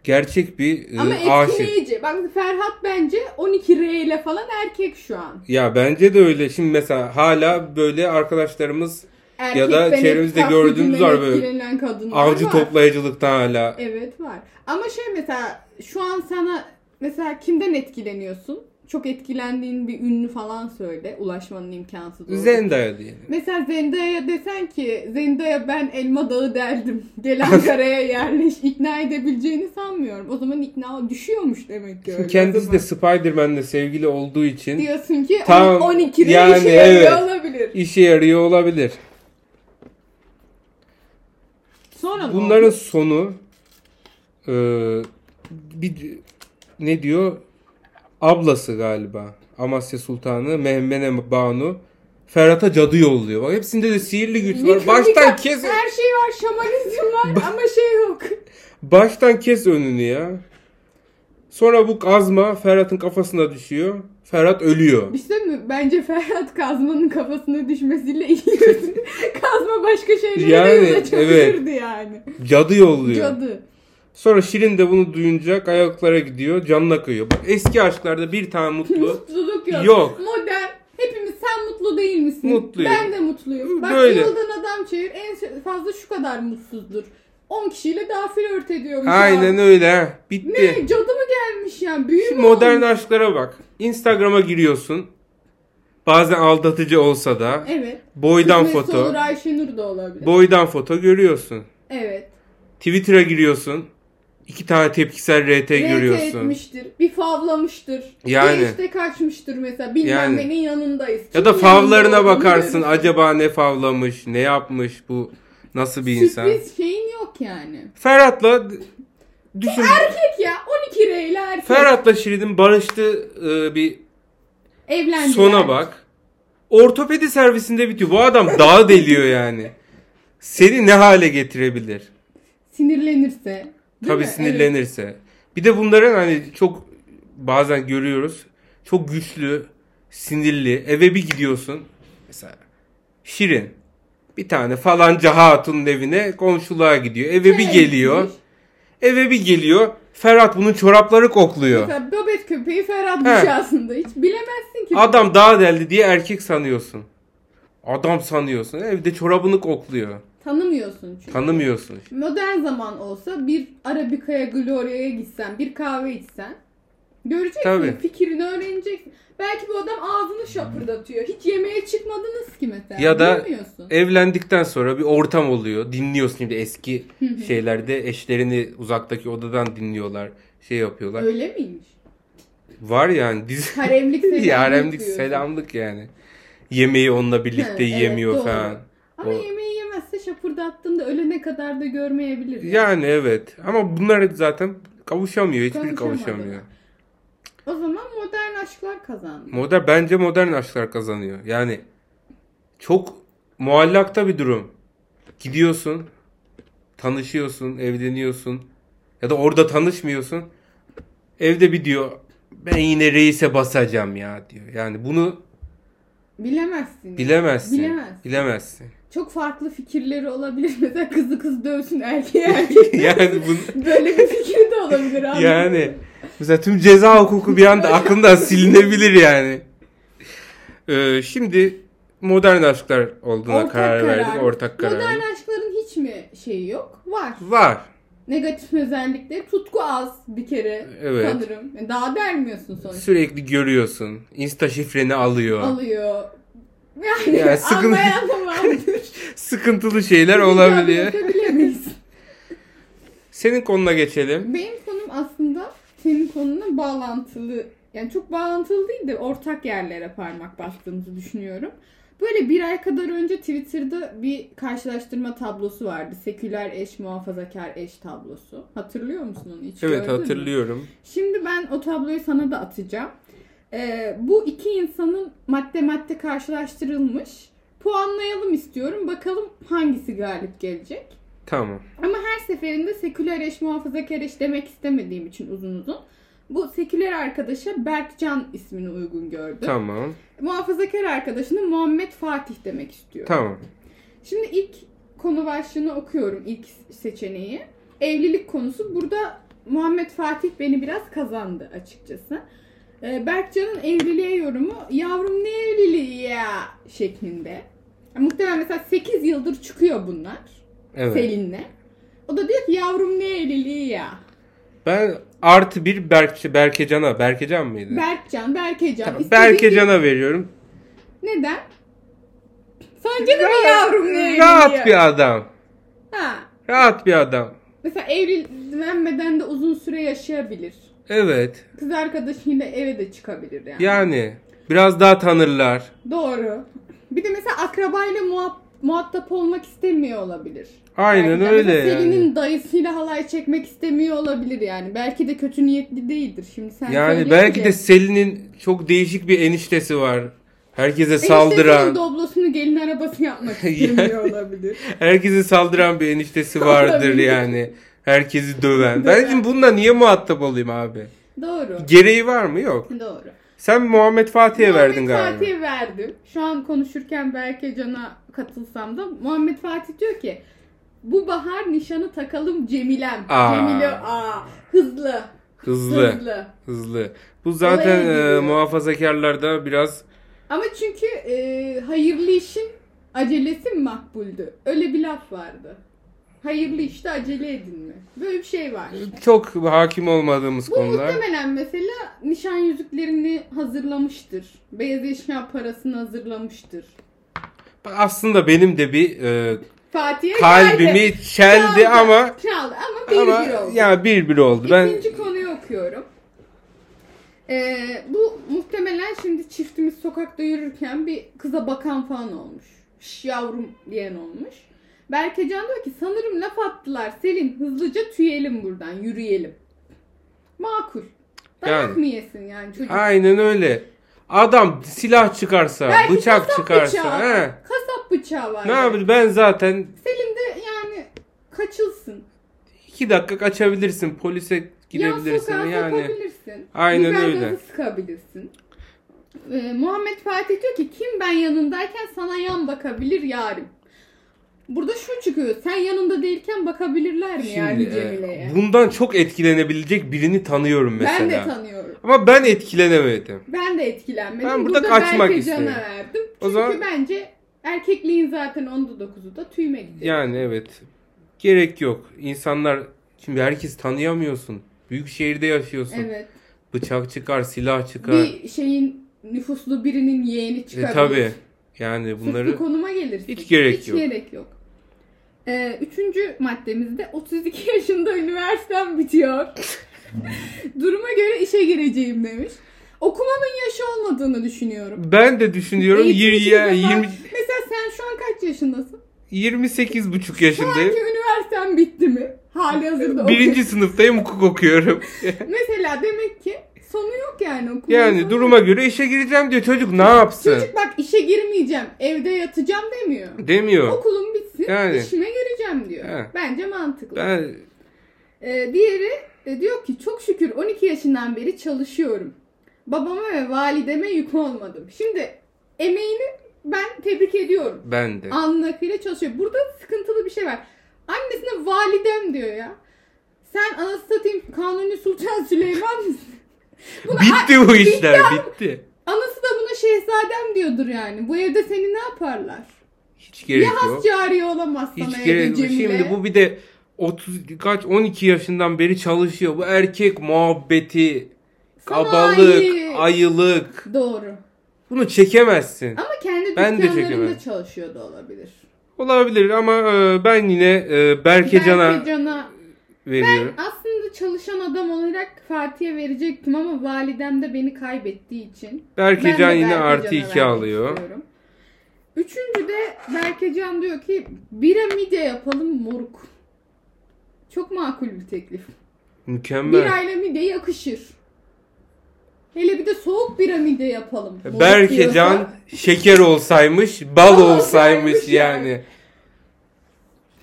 Speaker 1: gerçek bir e,
Speaker 2: Ama
Speaker 1: aşık.
Speaker 2: etkileyici. Bak Ferhat bence 12 R ile falan erkek şu an.
Speaker 1: Ya bence de öyle. Şimdi mesela hala böyle arkadaşlarımız Ya da
Speaker 2: Erkekten
Speaker 1: çevremizde
Speaker 2: etkaf gücünden
Speaker 1: gördüğümüz var böyle.
Speaker 2: etkilenen kadınlar
Speaker 1: Avcı
Speaker 2: var.
Speaker 1: toplayıcılıktan hala.
Speaker 2: Evet var. Ama şey mesela şu an sana mesela kimden etkileniyorsun? Çok etkilendiğin bir ünlü falan söyle. Ulaşmanın imkansız olduğu.
Speaker 1: Zendaya diyelim.
Speaker 2: Mesela Zendaya'ya desen ki Zendaya ben elma dağı derdim. Gel Ankara'ya yerleş. İkna edebileceğini sanmıyorum. O zaman ikna düşüyormuş demek ki öyle.
Speaker 1: Şimdi kendisi de Spider-Man'le sevgili olduğu için
Speaker 2: diyorsun ki
Speaker 1: Tam-
Speaker 2: 12'de
Speaker 1: yani
Speaker 2: işe yarıyor
Speaker 1: evet.
Speaker 2: olabilir.
Speaker 1: işe yarıyor olabilir.
Speaker 2: Sonra ne
Speaker 1: Bunların
Speaker 2: oldu?
Speaker 1: sonu e, bir ne diyor? Ablası galiba. Amasya Sultanı Mehmene Banu Ferhat'a cadı yolluyor. Bak hepsinde de sihirli güç var.
Speaker 2: Mikronik-
Speaker 1: Baştan kes
Speaker 2: Her şey var şamanizm var ama şey yok.
Speaker 1: baştan kes önünü ya. Sonra bu kazma Ferhat'ın kafasına düşüyor. Ferhat ölüyor.
Speaker 2: Bir şey söyleyeyim mi? Bence Ferhat kazmanın kafasına düşmesiyle iyi Kazma başka şeylere
Speaker 1: Yani,
Speaker 2: de yol açabilirdi yani.
Speaker 1: Cadı yolluyor.
Speaker 2: Cadı.
Speaker 1: Sonra Şirin de bunu duyunca ayaklara gidiyor. Canına kıyıyor. Bak eski aşklarda bir tane mutlu.
Speaker 2: Mutluluk yok.
Speaker 1: Yok.
Speaker 2: Modern. Hepimiz sen mutlu değil misin?
Speaker 1: Mutluyum.
Speaker 2: Ben de mutluyum. Bak
Speaker 1: Böyle.
Speaker 2: yoldan adam çevir en fazla şu kadar mutsuzdur. 10 kişiyle daha flört ediyormuş.
Speaker 1: Aynen
Speaker 2: abi.
Speaker 1: öyle. ha. Bitti.
Speaker 2: Ne cadı mı gelmiş yani? Büyü
Speaker 1: Şu
Speaker 2: mü
Speaker 1: modern
Speaker 2: olmuş?
Speaker 1: aşklara bak. Instagram'a giriyorsun. Bazen aldatıcı olsa da
Speaker 2: Evet.
Speaker 1: boydan
Speaker 2: Kısmetse
Speaker 1: foto,
Speaker 2: olur Ayşenur da olabilir.
Speaker 1: boydan foto görüyorsun.
Speaker 2: evet.
Speaker 1: Twitter'a giriyorsun. iki tane tepkisel RT
Speaker 2: Görüyorsun.
Speaker 1: şey görüyorsun.
Speaker 2: etmiştir. Bir favlamıştır.
Speaker 1: Yani.
Speaker 2: Bir işte kaçmıştır mesela. Bilmem
Speaker 1: Yani.
Speaker 2: nenin yanındayız.
Speaker 1: Ya da
Speaker 2: Kimin
Speaker 1: favlarına
Speaker 2: yanında olduğunu
Speaker 1: bakarsın.
Speaker 2: görürsün.
Speaker 1: Acaba ne favlamış, ne yapmış bu nasıl bir insan?
Speaker 2: Sürpriz şeyin yok yani.
Speaker 1: Ferhat'la d- düşün.
Speaker 2: Erkek ya 12 reyle erkek.
Speaker 1: Ferhat'la Şirin'in barıştığı e, bir
Speaker 2: Evlendiler.
Speaker 1: Sona bak. Ortopedi servisinde bitiyor. Bu adam dağı deliyor yani. Seni ne hale getirebilir?
Speaker 2: Sinirlenirse. değil
Speaker 1: Tabii
Speaker 2: mi?
Speaker 1: sinirlenirse. Bir de bunların hani çok bazen görüyoruz. Çok güçlü, sinirli. Eve bir gidiyorsun. Mesela Şirin. Bir tane falanca hatunun evine komşuluğa gidiyor. Eve
Speaker 2: Evet.
Speaker 1: bir
Speaker 2: Şeye
Speaker 1: geliyor.
Speaker 2: gitmiş.
Speaker 1: Eve bir geliyor. Ferhat bunun çorapları kokluyor.
Speaker 2: Mesela böbet köpeği Ferhat
Speaker 1: He.
Speaker 2: Düş aslında. Hiç bilemezsin ki.
Speaker 1: Adam daha deldi diye erkek sanıyorsun. Adam sanıyorsun. Evde çorabını kokluyor.
Speaker 2: Tanımıyorsun çünkü.
Speaker 1: Tanımıyorsun.
Speaker 2: Modern zaman olsa bir Arabika'ya Gloria'ya gitsen, bir kahve içsen göreceksin,
Speaker 1: Tabii.
Speaker 2: fikrini öğreneceksin. Belki bu adam ağzını şapırdatıyor. Hiç yemeğe çıkmadınız ki mesela.
Speaker 1: Ya da
Speaker 2: Bilmiyorsun.
Speaker 1: evlendikten sonra bir ortam oluyor. Dinliyorsun şimdi eski şeylerde eşlerini uzaktaki odadan dinliyorlar. Şey yapıyorlar.
Speaker 2: Öyle miymiş?
Speaker 1: Var yani dizi.
Speaker 2: Haremlik selamlık
Speaker 1: Yaremlik
Speaker 2: diyorsun.
Speaker 1: selamlık yani. Yemeği onunla
Speaker 2: Ha,
Speaker 1: birlikte
Speaker 2: evet,
Speaker 1: yiyemiyor
Speaker 2: doğru.
Speaker 1: falan.
Speaker 2: Ama
Speaker 1: O-
Speaker 2: yemeği yemezse şapırdattığında ölene kadar da görmeyebilir.
Speaker 1: Yani evet. Ama bunlar hep zaten kavuşamıyor. Hiçbiri
Speaker 2: Konuşamadılar.
Speaker 1: kavuşamıyor.
Speaker 2: O zaman modern aşklar kazandı.
Speaker 1: Modern bence modern aşklar kazanıyor. Yani çok muallakta bir durum. Gidiyorsun, tanışıyorsun, evleniyorsun ya da orada tanışmıyorsun. Evde bir diyor ben yine reise basacağım ya diyor. Yani bunu
Speaker 2: Bilemezsin.
Speaker 1: bilemezsin.
Speaker 2: Bilemezsin.
Speaker 1: Bilemezsin.
Speaker 2: Çok farklı fikirleri olabilir. Mesela kızı kız dövsün, erkeği erkek.
Speaker 1: yani bunu
Speaker 2: Böyle bir fikir de olabilir. anladın
Speaker 1: yani
Speaker 2: mı?
Speaker 1: mesela tüm ceza hukuku bir anda aklından silinebilir yani. Ee, şimdi modern aşklar olduğuna
Speaker 2: Ortak
Speaker 1: karar, verdik.
Speaker 2: karar.
Speaker 1: Ortak karar.
Speaker 2: Modern aşkların hiç mi şeyi yok? Var.
Speaker 1: Var.
Speaker 2: Negatif özellikleri tutku az bir kere
Speaker 1: Evet.
Speaker 2: sanırım. Yani Daha dermiyorsun sonuçta.
Speaker 1: Sürekli görüyorsun. Insta şifreni alıyor.
Speaker 2: Alıyor. Yani
Speaker 1: Ya, sıkıntı-
Speaker 2: anlayan da vardır.
Speaker 1: Sıkıntılı şeyler olabiliyor.
Speaker 2: Biz bilemeyiz.
Speaker 1: Senin konuna geçelim.
Speaker 2: Benim konum aslında senin konuna bağlantılı. Yani çok bağlantılı değil de ortak yerlere parmak bastığımızı düşünüyorum. Böyle bir ay kadar önce Twitter'da bir karşılaştırma tablosu vardı. Seküler eş, muhafazakar eş tablosu. Hatırlıyor musun onu? Hiç
Speaker 1: Evet
Speaker 2: gördün mü?
Speaker 1: hatırlıyorum.
Speaker 2: Şimdi ben o tabloyu sana da atacağım. Ee, bu iki insanın madde madde karşılaştırılmış. Puanlayalım istiyorum. Bakalım hangisi galip gelecek.
Speaker 1: Tamam.
Speaker 2: Ama her seferinde seküler eş, muhafazakar eş demek istemediğim için uzun uzun. Bu seküler arkadaşa Berkcan ismini uygun gördüm.
Speaker 1: Tamam.
Speaker 2: Muhafazakar arkadaşına Muhammed Fatih demek istiyorum.
Speaker 1: Tamam.
Speaker 2: Şimdi ilk konu başlığını okuyorum ilk seçeneği. Evlilik konusu. Burada Muhammed Fatih beni biraz kazandı açıkçası. Ee, Berkcan'ın evliliğe yorumu yavrum ne evliliği ya şeklinde. Muhtemelen mesela 8 yıldır çıkıyor bunlar
Speaker 1: Evet.
Speaker 2: Selin'le. O da diyor ki yavrum ne evliliği ya.
Speaker 1: Ben artı bir Berk, Berkecan'a. Berkecan mıydı?
Speaker 2: Berkcan, Berkecan.
Speaker 1: Tamam,
Speaker 2: istediğin
Speaker 1: Berkecan'a veriyorum.
Speaker 2: gibi- Neden? Sence de mi yavrum ne evliliği?
Speaker 1: Rahat bir adam.
Speaker 2: Ha.
Speaker 1: Rahat bir adam.
Speaker 2: Mesela evlenmeden de uzun süre yaşayabilir.
Speaker 1: Evet.
Speaker 2: Kız arkadaşıyla eve de çıkabilir yani.
Speaker 1: Yani biraz daha tanırlar.
Speaker 2: Doğru. Bir de mesela akrabayla muha- muhatap olmak istemiyor olabilir.
Speaker 1: Aynen
Speaker 2: Belki de
Speaker 1: öyle
Speaker 2: mesela
Speaker 1: yani.
Speaker 2: Selin'in dayısıyla halay çekmek istemiyor olabilir yani. Belki de kötü niyetli değildir. Şimdi sen
Speaker 1: Yani
Speaker 2: söyleyince-
Speaker 1: belki de Selin'in çok değişik bir eniştesi var. Herkese
Speaker 2: Eniştesinin
Speaker 1: saldıran,
Speaker 2: doblosunu gelin arabası yapmak istemiyor olabilir.
Speaker 1: herkese saldıran bir eniştesi vardır
Speaker 2: Olabilir.
Speaker 1: yani. Herkesi döven. Ben şimdi bununla niye muhatap olayım abi?
Speaker 2: Doğru.
Speaker 1: Gereği var mı? Yok.
Speaker 2: Doğru.
Speaker 1: Sen Muhammed Fatih'e
Speaker 2: Muhammed
Speaker 1: verdin galiba.
Speaker 2: Fatih'e verdim. Şu an konuşurken belki Can'a katılsam da Muhammed Fatih diyor ki bu bahar nişanı takalım Cemilem.
Speaker 1: Aa.
Speaker 2: Cemile aa, hızlı.
Speaker 1: Hızlı. Hızlı. Bu
Speaker 2: Olaya
Speaker 1: zaten e,
Speaker 2: gidiyor.
Speaker 1: muhafazakarlarda biraz
Speaker 2: Ama çünkü e, hayırlı işin acelesi mi makbuldü? Öyle bir laf vardı. Hayırlı işte acele edin mi? Böyle bir şey var.
Speaker 1: çok hakim olmadığımız
Speaker 2: Bu
Speaker 1: konular.
Speaker 2: muhtemelen mesela nişan yüzüklerini hazırlamıştır. Beyaz eşya parasını hazırlamıştır.
Speaker 1: Aslında benim de bir e,
Speaker 2: Fatih'e geldi.
Speaker 1: kalbimi çeldi ama
Speaker 2: Çaldı ama bir
Speaker 1: ama
Speaker 2: bir oldu.
Speaker 1: ya bir bir oldu. Ben
Speaker 2: İkinci konuyu okuyorum. Ee, bu muhtemelen şimdi çiftimiz sokakta yürürken bir kıza bakan falan olmuş. Şş yavrum diyen olmuş. Berkecan diyor ki sanırım laf attılar Selin hızlıca tüyelim buradan yürüyelim. Makul. Dayak
Speaker 1: Yani.
Speaker 2: mı yesin yani çocuk?
Speaker 1: Aynen öyle. Adam silah çıkarsa,
Speaker 2: Belki
Speaker 1: bıçak
Speaker 2: kasap
Speaker 1: çıkarsa,
Speaker 2: bıçağı.
Speaker 1: he.
Speaker 2: Kasap bıçağı var.
Speaker 1: Ne
Speaker 2: yani.
Speaker 1: yapayım ben zaten
Speaker 2: Selim de yani kaçılsın.
Speaker 1: 2 dakika kaçabilirsin, polise
Speaker 2: Yan
Speaker 1: gidebilirsin
Speaker 2: sokağa
Speaker 1: yani.
Speaker 2: sapabilirsin.
Speaker 1: Aynen
Speaker 2: Biber
Speaker 1: öyle.
Speaker 2: gazı sıkabilirsin. Ee, Muhammed Fatih diyor ki kim ben yanındayken sana yan bakabilir yarim. Burada şu çıkıyor. Sen yanında değilken bakabilirler mi yani
Speaker 1: Şimdi e,
Speaker 2: Cemile'ye?
Speaker 1: bundan çok etkilenebilecek birini tanıyorum mesela.
Speaker 2: ben de tanıyorum.
Speaker 1: Ama ben etkilenemedim.
Speaker 2: Ben de etkilenmedim.
Speaker 1: Ben burada kaçmak
Speaker 2: Berke
Speaker 1: istiyorum.
Speaker 2: Can'a verdim.
Speaker 1: O
Speaker 2: Çünkü
Speaker 1: zaman-
Speaker 2: bence erkekliğin zaten 10'da 9'u da tüyme gidiyor.
Speaker 1: Yani evet. Gerek yok. İnsanlar şimdi herkes tanıyamıyorsun. Büyük şehirde yaşıyorsun.
Speaker 2: Evet.
Speaker 1: Bıçak çıkar, silah çıkar.
Speaker 2: Bir şeyin nüfuslu birinin yeğeni
Speaker 1: E,
Speaker 2: çıkabilir.
Speaker 1: tabii. Yani
Speaker 2: Bunları...
Speaker 1: bunları
Speaker 2: konuma gelirsin.
Speaker 1: Hiç gerek yok.
Speaker 2: gerek yok. Ee, üçüncü maddemizde 32 yaşında üniversitem bitiyor. Duruma göre işe gireceğim demiş. Okumanın yaşı olmadığını düşünüyorum.
Speaker 1: ben de düşünüyorum
Speaker 2: Eğitim
Speaker 1: 20
Speaker 2: için
Speaker 1: ya-
Speaker 2: de var.
Speaker 1: 20
Speaker 2: Mesela sen şu an kaç yaşındasın?
Speaker 1: 28 buçuk yaşındayım.
Speaker 2: Ki üniversiten bitti mi? Hali hazırda
Speaker 1: Birinci sınıftayım hukuk okuyorum.
Speaker 2: oku- Mesela demek ki sonu yok yani okumanın.
Speaker 1: yani
Speaker 2: sonu
Speaker 1: duruma
Speaker 2: yok.
Speaker 1: göre işe gireceğim diyor. Çocuk ne yapsın?
Speaker 2: Çocuk bak işe girmeyeceğim, evde yatacağım demiyor.
Speaker 1: Demiyor.
Speaker 2: Okulum bitsin,
Speaker 1: Yani.
Speaker 2: işime gireceğim diyor.
Speaker 1: He.
Speaker 2: Bence mantıklı.
Speaker 1: Ben
Speaker 2: Ee, diğeri e, diyor ki çok şükür 12 yaşından beri çalışıyorum. Babama ve valideme yük olmadım. Şimdi emeğini ben tebrik ediyorum.
Speaker 1: ben de.
Speaker 2: Alnın akıyla çalışıyor. Burada sıkıntılı bir şey var. Annesine validem diyor ya. Sen anası satayım Kanuni Sultan Süleyman mısın? Buna a-
Speaker 1: Bitti bu işler bitti.
Speaker 2: anası da buna şehzadem diyordur yani. Bu evde seni ne yaparlar?
Speaker 1: Hiç gerek
Speaker 2: ya has
Speaker 1: yok.
Speaker 2: cariye olamaz sana
Speaker 1: Hiç
Speaker 2: ya
Speaker 1: gerek yok.
Speaker 2: Cemile.
Speaker 1: Şimdi bu bir de 30 kaç 12 yaşından beri çalışıyor. Bu erkek muhabbeti,
Speaker 2: Sanayi.
Speaker 1: kabalık, ayılık.
Speaker 2: Doğru.
Speaker 1: Bunu çekemezsin.
Speaker 2: Ama kendi
Speaker 1: Ben de
Speaker 2: dükkanlarında
Speaker 1: çekemem.
Speaker 2: çalışıyor da olabilir.
Speaker 1: Olabilir ama e, ben yine e, Berkecan'a
Speaker 2: Belki cana.
Speaker 1: veriyorum.
Speaker 2: Aslında çalışan adam olarak Fatih'e verecektim ama validem de beni kaybettiği için. Ben de
Speaker 1: Berkecan yine
Speaker 2: Berkecan'a
Speaker 1: artı 2
Speaker 2: vermek
Speaker 1: alıyor.
Speaker 2: istiyorum. Üçüncü de Berkecan diyor ki bira midye yapalım moruk. Çok makul bir teklif.
Speaker 1: Mükemmel.
Speaker 2: Birayla midye yakışır. Hele bir de soğuk bira midye yapalım. moruk
Speaker 1: E, Berkecan
Speaker 2: diyorsa.
Speaker 1: şeker olsaymış, bal
Speaker 2: Bal
Speaker 1: olsaymış
Speaker 2: olsaymış
Speaker 1: yani.
Speaker 2: yani.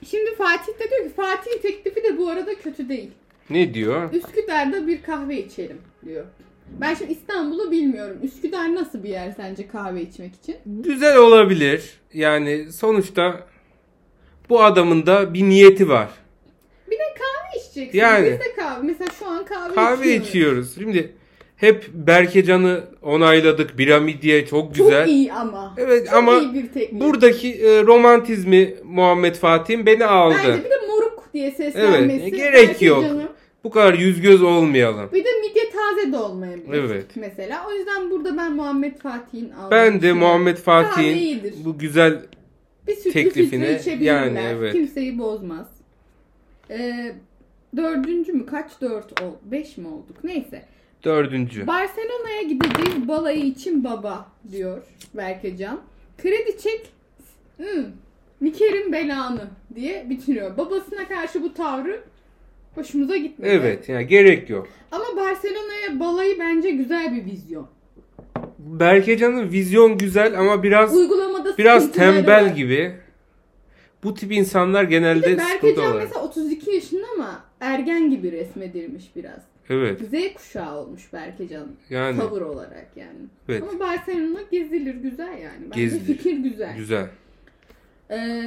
Speaker 2: Şimdi Fatih de diyor ki Fatih'in teklifi de bu arada kötü değil.
Speaker 1: Ne diyor?
Speaker 2: Üsküdar'da bir kahve içelim diyor. Ben şimdi İstanbul'u bilmiyorum. Üsküdar nasıl bir yer sence kahve içmek için?
Speaker 1: Güzel olabilir. Yani sonuçta bu adamın da bir niyeti var.
Speaker 2: Bir de kahve içeceksin.
Speaker 1: Yani.
Speaker 2: Biz de kahve. Mesela şu an kahve,
Speaker 1: Kahve
Speaker 2: içiyoruz.
Speaker 1: içiyoruz. Şimdi Hep Berkecan'ı onayladık. Piramidiye çok güzel.
Speaker 2: Çok iyi ama.
Speaker 1: Evet
Speaker 2: Çok
Speaker 1: ama
Speaker 2: iyi bir teknik.
Speaker 1: buradaki e, romantizmi Muhammed Fatih'in beni aldı.
Speaker 2: Bence bir de moruk diye seslenmesi.
Speaker 1: Evet, e, gerek
Speaker 2: belki
Speaker 1: yok.
Speaker 2: canım.
Speaker 1: Bu kadar yüz göz olmayalım.
Speaker 2: Bir de midye taze de olmayabilir.
Speaker 1: Evet.
Speaker 2: Mesela. O yüzden burada ben Muhammed Fatih'in aldım.
Speaker 1: Ben de Muhammed
Speaker 2: Kahve
Speaker 1: Fatih'in
Speaker 2: iyidir.
Speaker 1: bu güzel
Speaker 2: bir sütlü
Speaker 1: teklifine-
Speaker 2: filtre içebilirler.
Speaker 1: yani evet.
Speaker 2: Kimseyi bozmaz. Ee, dördüncü mü? Kaç dört? O, beş mi olduk? Neyse.
Speaker 1: dördüncü.
Speaker 2: Barcelona'ya gideceğiz balayı için baba diyor Berkecan. Kredi çek hmm, Miker'in belanı diye bitiriyor. Babasına karşı bu tavrı hoşumuza gitmedi.
Speaker 1: Evet yani gerek yok.
Speaker 2: Ama Barcelona'ya balayı bence güzel bir vizyon.
Speaker 1: Berkecan'ın vizyon güzel ama biraz
Speaker 2: Uygulamada
Speaker 1: biraz
Speaker 2: sıkıntıları
Speaker 1: tembel
Speaker 2: var.
Speaker 1: gibi. Bu tip insanlar
Speaker 2: Bir de
Speaker 1: genelde sıkıntı
Speaker 2: Berkecan
Speaker 1: olur.
Speaker 2: mesela 32 yaşında ama ergen gibi resmedilmiş biraz.
Speaker 1: Evet
Speaker 2: Z kuşağı olmuş Berkecan
Speaker 1: yani
Speaker 2: tavır olarak yani.
Speaker 1: evet
Speaker 2: Ama Barcelona gezilir güzel yani. Bence
Speaker 1: Gezilir.
Speaker 2: fikir güzel.
Speaker 1: güzel.
Speaker 2: Ee,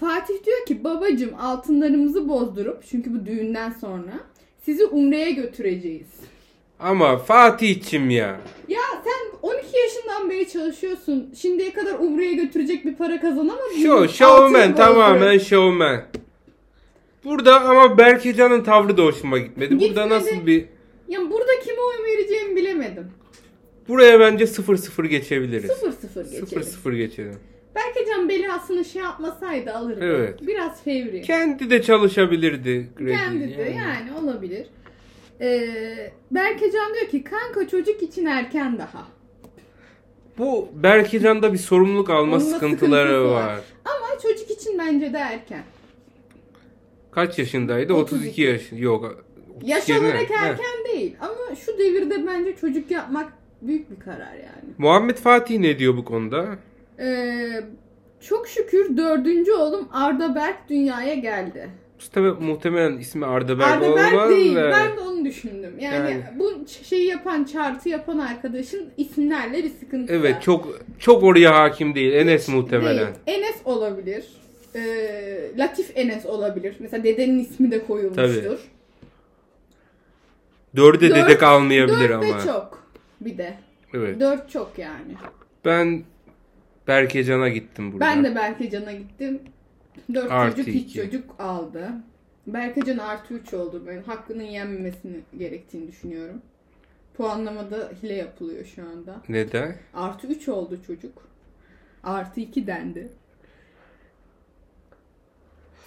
Speaker 2: Fatih diyor ki babacım altınlarımızı bozdurup çünkü bu düğünden sonra sizi Umre'ye götüreceğiz.
Speaker 1: Ama Fatih'çim ya.
Speaker 2: Ya sen 12 yaşından beri çalışıyorsun. Şimdiye kadar Umre'ye götürecek bir para kazanamadın
Speaker 1: Show,
Speaker 2: mı?
Speaker 1: showman
Speaker 2: Altını
Speaker 1: tamamen
Speaker 2: bozdurup.
Speaker 1: showman. Burada ama Berkecan'ın tavrı da hoşuma gitmedi. Burada
Speaker 2: Gitmedi.
Speaker 1: nasıl bir
Speaker 2: Ya burada kime oy vereceğimi bilemedim.
Speaker 1: buraya bence 0-0 geçebiliriz.
Speaker 2: 0-0 geçelim.
Speaker 1: 0-0 geçelim.
Speaker 2: Belki Can belasını şey yapmasaydı alırdı.
Speaker 1: Evet.
Speaker 2: Biraz fevri.
Speaker 1: Kendi de çalışabilirdi. Grady.
Speaker 2: Kendi de yani olabilir. Ee, Berkecan diyor ki kanka çocuk için erken daha.
Speaker 1: Bu Berkecan'da bir sorumluluk alma
Speaker 2: Onunla
Speaker 1: sıkıntıları
Speaker 2: sıkıntısı
Speaker 1: var.
Speaker 2: var. Ama çocuk için bence de erken.
Speaker 1: Kaç yaşındaydı? 32,
Speaker 2: 32
Speaker 1: yaş. Yok. 32
Speaker 2: Yaş
Speaker 1: yerine-
Speaker 2: olarak
Speaker 1: Heh.
Speaker 2: erken değil. Ama şu devirde bence çocuk yapmak büyük bir karar yani.
Speaker 1: Muhammed Fatih ne diyor bu konuda?
Speaker 2: Ee, çok şükür dördüncü oğlum Arda Berk dünyaya geldi.
Speaker 1: Mustafa muhtemelen ismi Arda Berk
Speaker 2: Arda Berk
Speaker 1: olmaz
Speaker 2: değil.
Speaker 1: da.
Speaker 2: Ben de onu düşündüm. Yani,
Speaker 1: Yani.
Speaker 2: bu ç- şeyi yapan, çartı yapan arkadaşın isimlerle bir sıkıntı var.
Speaker 1: Evet çok çok oraya hakim değil. Enes muhtemelen.
Speaker 2: Değil. Enes olabilir. Ee, Latif Enes olabilir. Mesela dedenin ismi de
Speaker 1: Tabii.
Speaker 2: koyulmuştur.
Speaker 1: Dörde
Speaker 2: Dört-
Speaker 1: dedek almayabilir
Speaker 2: Dört
Speaker 1: ama.
Speaker 2: de çok. Bir de.
Speaker 1: Evet.
Speaker 2: Dört çok yani.
Speaker 1: Ben Berkecan'a gittim burada.
Speaker 2: Ben de Berkecan'a gittim. Dört
Speaker 1: Artı
Speaker 2: çocuk hiç
Speaker 1: iki.
Speaker 2: çocuk aldı. Berkecan artı üç oldu. Ben hakkının yenmemesini gerektiğini düşünüyorum. Puanlamada hile yapılıyor şu anda.
Speaker 1: Neden?
Speaker 2: Artı 3 oldu çocuk. Artı 2 dendi.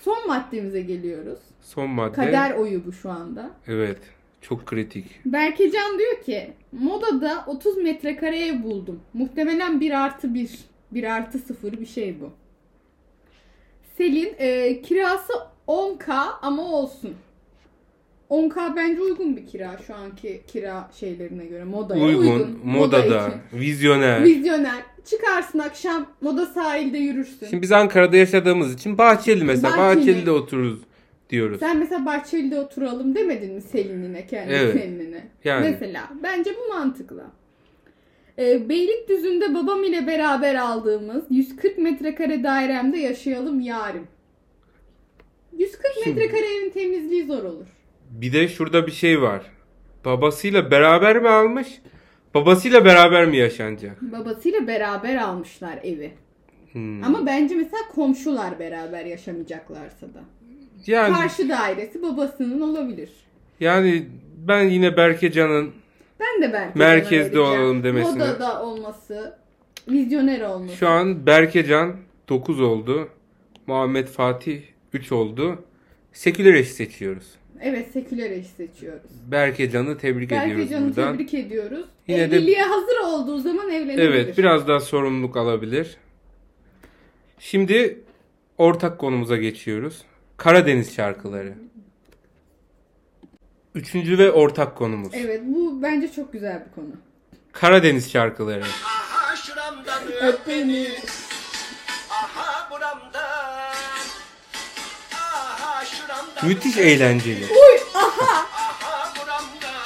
Speaker 2: Son maddemize geliyoruz.
Speaker 1: Son madde.
Speaker 2: Kader oyu bu şu anda.
Speaker 1: Evet. Çok kritik.
Speaker 2: Berkecan diyor ki modada 30 metrekareye buldum. Muhtemelen 1 artı 1, 1 artı 0 bir şey bu. Selin e, kirası 10k ama olsun. 10k bence uygun bir kira şu anki kira şeylerine göre modaya
Speaker 1: Uygun,
Speaker 2: uygun. Moda
Speaker 1: modada,
Speaker 2: için.
Speaker 1: vizyoner.
Speaker 2: Vizyoner. Çıkarsın akşam moda sahilde yürürsün.
Speaker 1: Şimdi biz Ankara'da yaşadığımız için Bahçeli mesela
Speaker 2: Bahçeli.
Speaker 1: Bahçeli'de otururuz diyoruz.
Speaker 2: Sen mesela Bahçeli'de oturalım demedin mi Selin'ine kendi
Speaker 1: Evet.
Speaker 2: kendine?
Speaker 1: Yani.
Speaker 2: Mesela. Bence bu mantıklı. Ee, Beylikdüzü'nde babam ile beraber aldığımız 140 metrekare dairemde yaşayalım yarim. 140
Speaker 1: Şimdi-
Speaker 2: metrekare evin temizliği zor olur.
Speaker 1: Bir de şurada bir şey var. Babasıyla beraber mi almış? Babasıyla beraber mi yaşanacak?
Speaker 2: Babasıyla beraber almışlar evi.
Speaker 1: Hmm.
Speaker 2: Ama bence mesela komşular beraber yaşamayacaklarsa da.
Speaker 1: yani
Speaker 2: Karşı dairesi babasının olabilir.
Speaker 1: yani ben yine Berkecan'ın
Speaker 2: Ben de belki
Speaker 1: Merkezde
Speaker 2: sana vereceğim.
Speaker 1: olalım demesini.
Speaker 2: Modada olması, vizyoner olması.
Speaker 1: şu an Berkecan 9 oldu. Muhammed Fatih 3 oldu. Seküler eş seçiyoruz.
Speaker 2: Evet seküler eş seçiyoruz.
Speaker 1: Berkecan'ı tebrik ediyoruz
Speaker 2: Berkecan'ı
Speaker 1: buradan.
Speaker 2: tebrik ediyoruz.
Speaker 1: Yine de-
Speaker 2: Evliliğe hazır olduğu zaman evlenebilir.
Speaker 1: Evet, biraz daha sorumluluk alabilir. Şimdi ortak konumuza geçiyoruz. Karadeniz şarkıları. Üçüncü ve ortak konumuz.
Speaker 2: Evet bu bence çok güzel bir konu.
Speaker 1: Karadeniz şarkıları.
Speaker 3: Aha şuramdan öp beni. Aha buramdan. Aha şuramdan.
Speaker 1: Müthiş eğlenceli.
Speaker 2: Uy aha!
Speaker 3: Aha buramdan.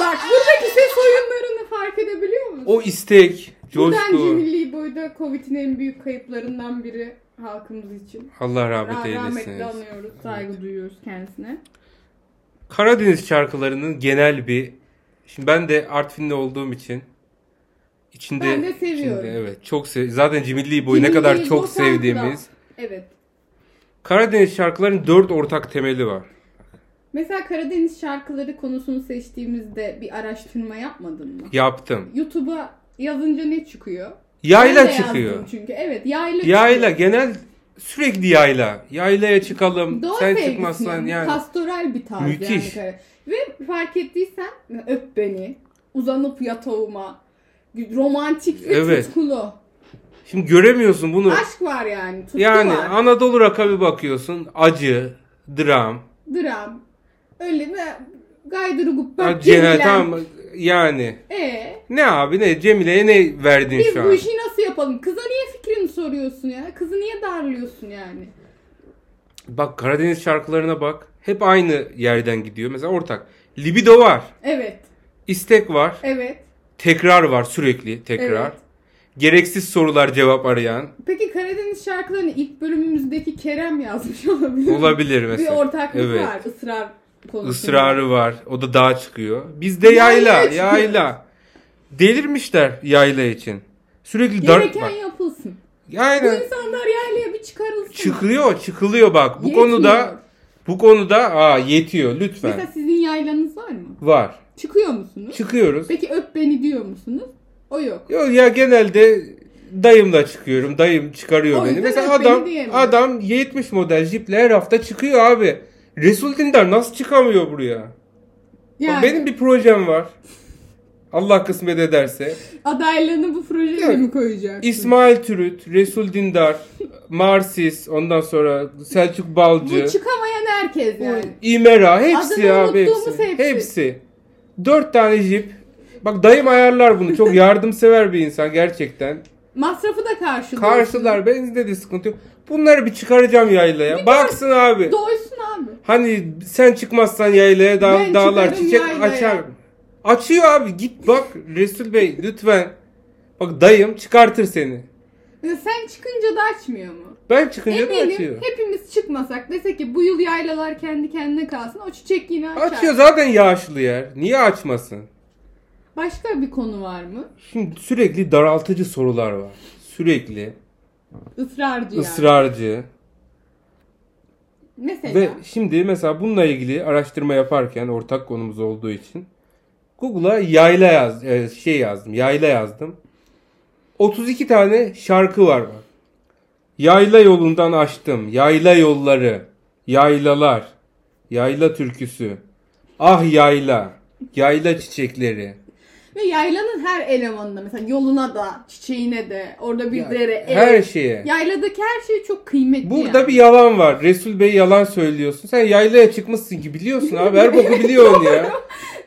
Speaker 2: Bak buradaki ses oyunlarını fark edebiliyor musun?
Speaker 1: O istek,
Speaker 2: Buradan
Speaker 1: coşku.
Speaker 2: Cemilli'yi boyda Dolayısıyla Covid'in en büyük kayıplarından biri halkımız için.
Speaker 1: Allah rahmet
Speaker 2: Rahmet
Speaker 1: eylesin.
Speaker 2: rahmetli anıyoruz, saygı duyuyoruz kendisine.
Speaker 1: Karadeniz şarkılarının genel bir şimdi ben de Artvinli olduğum için içinde
Speaker 2: Ben de seviyorum.
Speaker 1: içinde- evet çok sev zaten Cimilli boyu ne
Speaker 2: Cimilliği
Speaker 1: kadar çok
Speaker 2: Bosan'da.
Speaker 1: sevdiğimiz.
Speaker 2: Evet.
Speaker 1: Karadeniz şarkılarının dört ortak temeli var.
Speaker 2: Mesela Karadeniz şarkıları konusunu seçtiğimizde bir araştırma yapmadın mı?
Speaker 1: Yaptım.
Speaker 2: YouTube'a yazınca ne çıkıyor?
Speaker 1: Yayla
Speaker 2: Ben de
Speaker 1: çıkıyor.
Speaker 2: yazdım Çünkü evet yayla.
Speaker 1: Yayla
Speaker 2: çıkıyor.
Speaker 1: genel sürekli yayla. Yaylaya çıkalım.
Speaker 2: Doğa
Speaker 1: Sen
Speaker 2: sevgisi
Speaker 1: çıkmazsan
Speaker 2: yani.
Speaker 1: yani.
Speaker 2: Pastoral bir tarz
Speaker 1: Müthiş.
Speaker 2: yani. Ve fark ettiysen öp beni. Uzanıp yatağıma. Romantik ve
Speaker 1: Evet.
Speaker 2: tutkulu.
Speaker 1: Şimdi göremiyorsun bunu.
Speaker 2: Aşk var yani. Tutku
Speaker 1: yani
Speaker 2: var.
Speaker 1: Anadolu rock'a bir bakıyorsun. Acı, dram.
Speaker 2: Dram. Öyle mi? Gaydırı guppa.
Speaker 1: Genel
Speaker 2: gerilen.
Speaker 1: tam yani.
Speaker 2: Ee,
Speaker 1: Ne abi ne Cemile'ye ne verdin
Speaker 2: biz
Speaker 1: şu
Speaker 2: bu
Speaker 1: an?
Speaker 2: işi nasıl yapalım? Kıza niye fikrini soruyorsun ya? Kızı niye darlıyorsun yani?
Speaker 1: Bak Karadeniz şarkılarına bak. Hep aynı yerden gidiyor. Mesela ortak. Libido var.
Speaker 2: Evet.
Speaker 1: istek var.
Speaker 2: Evet.
Speaker 1: Tekrar var sürekli tekrar.
Speaker 2: Evet.
Speaker 1: Gereksiz sorular cevap arayan.
Speaker 2: Peki Karadeniz şarkılarını ilk bölümümüzdeki Kerem yazmış olabilir. mi?
Speaker 1: Olabilir
Speaker 2: Bir
Speaker 1: mesela.
Speaker 2: ortaklık
Speaker 1: Evet.
Speaker 2: var ısrar konusunda.
Speaker 1: Israrı var. O da dağa çıkıyor. Bizde yayla,
Speaker 2: Yaylaya çıkıyoruz.
Speaker 1: yayla. Delirmişler yayla için. Sürekli dar...
Speaker 2: Gereken
Speaker 1: bak,
Speaker 2: yapılsın. Bu
Speaker 1: Aynen.
Speaker 2: insanlar yaylaya bir çıkarılsın.
Speaker 1: Çıkılıyor, çıkılıyor bak. Bu
Speaker 2: Yetmiyor.
Speaker 1: konuda bu konuda aa yetiyor lütfen.
Speaker 2: Mesela sizin yaylanız var mı?
Speaker 1: Var.
Speaker 2: Çıkıyor musunuz?
Speaker 1: Çıkıyoruz.
Speaker 2: Peki öp beni diyor musunuz? O yok.
Speaker 1: Yok ya genelde dayımla çıkıyorum. Dayım çıkarıyor
Speaker 2: O
Speaker 1: beni.
Speaker 2: yüzden
Speaker 1: Mesela
Speaker 2: hep beni
Speaker 1: adam
Speaker 2: diyemiyor.
Speaker 1: adam 70 model jiple her hafta çıkıyor abi. Resul Dindar nasıl çıkamıyor buraya? Bak
Speaker 2: Yani
Speaker 1: Benim bir projem var. Allah kısmet ederse.
Speaker 2: adaylığını bu projeye
Speaker 1: Yok.
Speaker 2: mi koyacaksın?
Speaker 1: İsmail Türüt, Resul Dindar, Marsis, ondan sonra Selçuk Balcı,
Speaker 2: Bu çıkamayan herkes yani.
Speaker 1: İmera hepsi
Speaker 2: Adını
Speaker 1: abi
Speaker 2: unuttuğumuz
Speaker 1: hepsi.
Speaker 2: hepsi.
Speaker 1: Hepsi. Dört tane jip. Bak dayım ayarlar bunu. Çok yardımsever bir insan gerçekten.
Speaker 2: Masrafı da karşılıyor.
Speaker 1: Karşılar benzinde de sıkıntı yok. Bunları bir çıkaracağım yaylaya. Baksın abi.
Speaker 2: Doysun abi.
Speaker 1: Hani sen çıkmazsan yaylaya dağ-
Speaker 2: Ben
Speaker 1: dağlar
Speaker 2: çıkarım
Speaker 1: çiçek
Speaker 2: yaylaya.
Speaker 1: açar. Açıyor abi git bak Resul Bey lütfen. Bak dayım çıkartır seni.
Speaker 2: Ya sen çıkınca da açmıyor mu?
Speaker 1: Ben çıkınca da
Speaker 2: Eminim
Speaker 1: açıyor.
Speaker 2: hepimiz çıkmasak desek ki bu yıl yaylalar kendi kendine kalsın o çiçek yine açar.
Speaker 1: Açıyor zaten yağışlı yer. Niye açmasın?
Speaker 2: Başka bir konu var mı?
Speaker 1: Şimdi sürekli daraltıcı sorular var. Sürekli
Speaker 2: Israrcı yani.
Speaker 1: ısrarcı.
Speaker 2: Mesela
Speaker 1: Ve şimdi mesela bununla ilgili araştırma yaparken ortak konumuz olduğu için Google'a yayla yaz e, şey yazdım. Yayla yazdım. 32 tane şarkı var bak. Yayla yolundan açtım. Yayla yolları. Yaylalar. Yayla türküsü. Ah yayla. Yayla çiçekleri.
Speaker 2: ve yaylanın her elemanına mesela yoluna da çiçeğine de orada bir dere ev.
Speaker 1: Her şeye.
Speaker 2: Yayladaki her şey çok kıymetli.
Speaker 1: Burada
Speaker 2: yani.
Speaker 1: bir yalan var. Resul Bey yalan söylüyorsun. Sen yaylaya çıkmışsın ki biliyorsun abi. Her boku biliyorsun ya.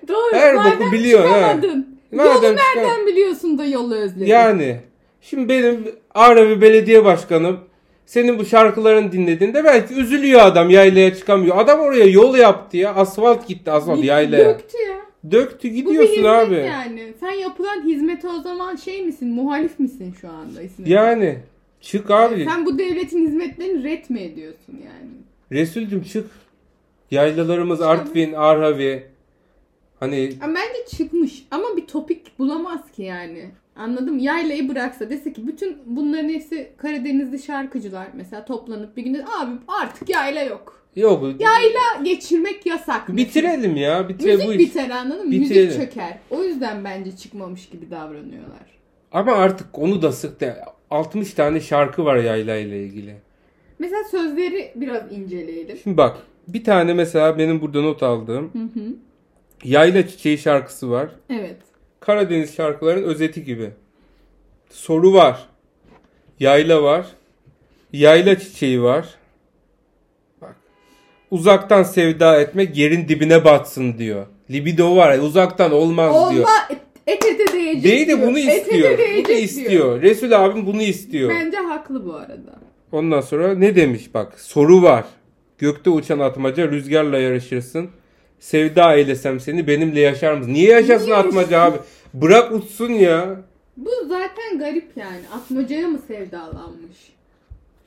Speaker 2: Doğru.
Speaker 1: her
Speaker 2: madem
Speaker 1: boku biliyorsun, ha.
Speaker 2: çıkamadın.
Speaker 1: Madem
Speaker 2: Yolu nereden
Speaker 1: çıkamadın.
Speaker 2: biliyorsun da yolu özledin?
Speaker 1: Yani şimdi benim Ağrı belediye başkanım senin bu şarkılarını dinlediğinde belki üzülüyor adam yaylaya çıkamıyor. Adam oraya yol yaptı ya. Asfalt gitti asfalt
Speaker 2: Bir-
Speaker 1: yaylaya.
Speaker 2: Döktü ya.
Speaker 1: Döktü
Speaker 2: Bu bir
Speaker 1: gidiyorsun
Speaker 2: hizmet
Speaker 1: abi. Yani.
Speaker 2: yani. Sen yapılan hizmete o zaman şey misin? Muhalif misin şu anda? İsmet?
Speaker 1: çık abi.
Speaker 2: Sen bu devletin hizmetlerini ret mi ediyorsun yani?
Speaker 1: Resulcüm çık. Yaylalarımız Artvin, Arhavi. Hani
Speaker 2: Ama bence çıkmış ama bir topik bulamaz ki yani. Anladım. Yaylayı bıraksa dese ki bütün bunların hepsi Karadenizli şarkıcılar mesela toplanıp bir günde abi artık yayla yok.
Speaker 1: yok.
Speaker 2: Yayla geçirmek yasak. mesela.
Speaker 1: Bitirelim ya. Bitire
Speaker 2: Müzik
Speaker 1: bu iş.
Speaker 2: biter anladın mı? Müzik
Speaker 1: Bitirelim.
Speaker 2: çöker. O yüzden bence çıkmamış gibi davranıyorlar.
Speaker 1: Ama artık onu da sık de 60 tane şarkı var yayla ile ilgili.
Speaker 2: Mesela sözleri biraz inceleyelim.
Speaker 1: Şimdi bak bir tane mesela benim burada not aldığım
Speaker 2: Hı hı.
Speaker 1: Yayla Çiçeği şarkısı var.
Speaker 2: Evet.
Speaker 1: Karadeniz şarkıların özeti gibi. Soru var. Yayla var. Yayla çiçeği var. Bak. Uzaktan sevda etmek yerin dibine batsın diyor. Libido var. Uzaktan olmaz diyor.
Speaker 2: Olma et ete değecek
Speaker 1: Değil de
Speaker 2: diyor.
Speaker 1: bunu
Speaker 2: Et ete
Speaker 1: istiyor.
Speaker 2: değecek
Speaker 1: Bunu
Speaker 2: diyor.
Speaker 1: istiyor. Resul abim bunu istiyor.
Speaker 2: Bence haklı bu arada.
Speaker 1: Ondan sonra ne demiş bak soru var. Gökte uçan atmaca rüzgarla yarışırsın. Sevda eylesem seni benimle yaşar mısın? Niye yaşasın
Speaker 2: Niye
Speaker 1: atmaca abi? Bırak uçsun ya.
Speaker 2: Bu zaten garip yani. Atmacaya mı sevdalanmış?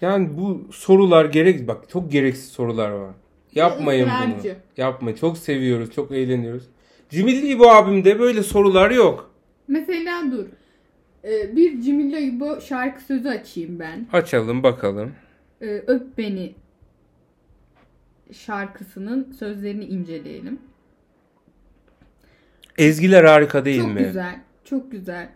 Speaker 1: Yani bu sorular gerek bak çok gereksiz sorular var. Yapmayın bunu.
Speaker 2: Israrcı.
Speaker 1: Yapma. Çok seviyoruz, çok eğleniyoruz. Cimri bu abimde böyle sorular yok.
Speaker 2: Mesela dur. Ee, bir Cimilla bu şarkı sözü açayım ben.
Speaker 1: Açalım bakalım.
Speaker 2: Ee, Öp Beni şarkısının sözlerini inceleyelim.
Speaker 1: Ezgiler harika değil
Speaker 2: çok
Speaker 1: mi?
Speaker 2: güzel. Çok güzel.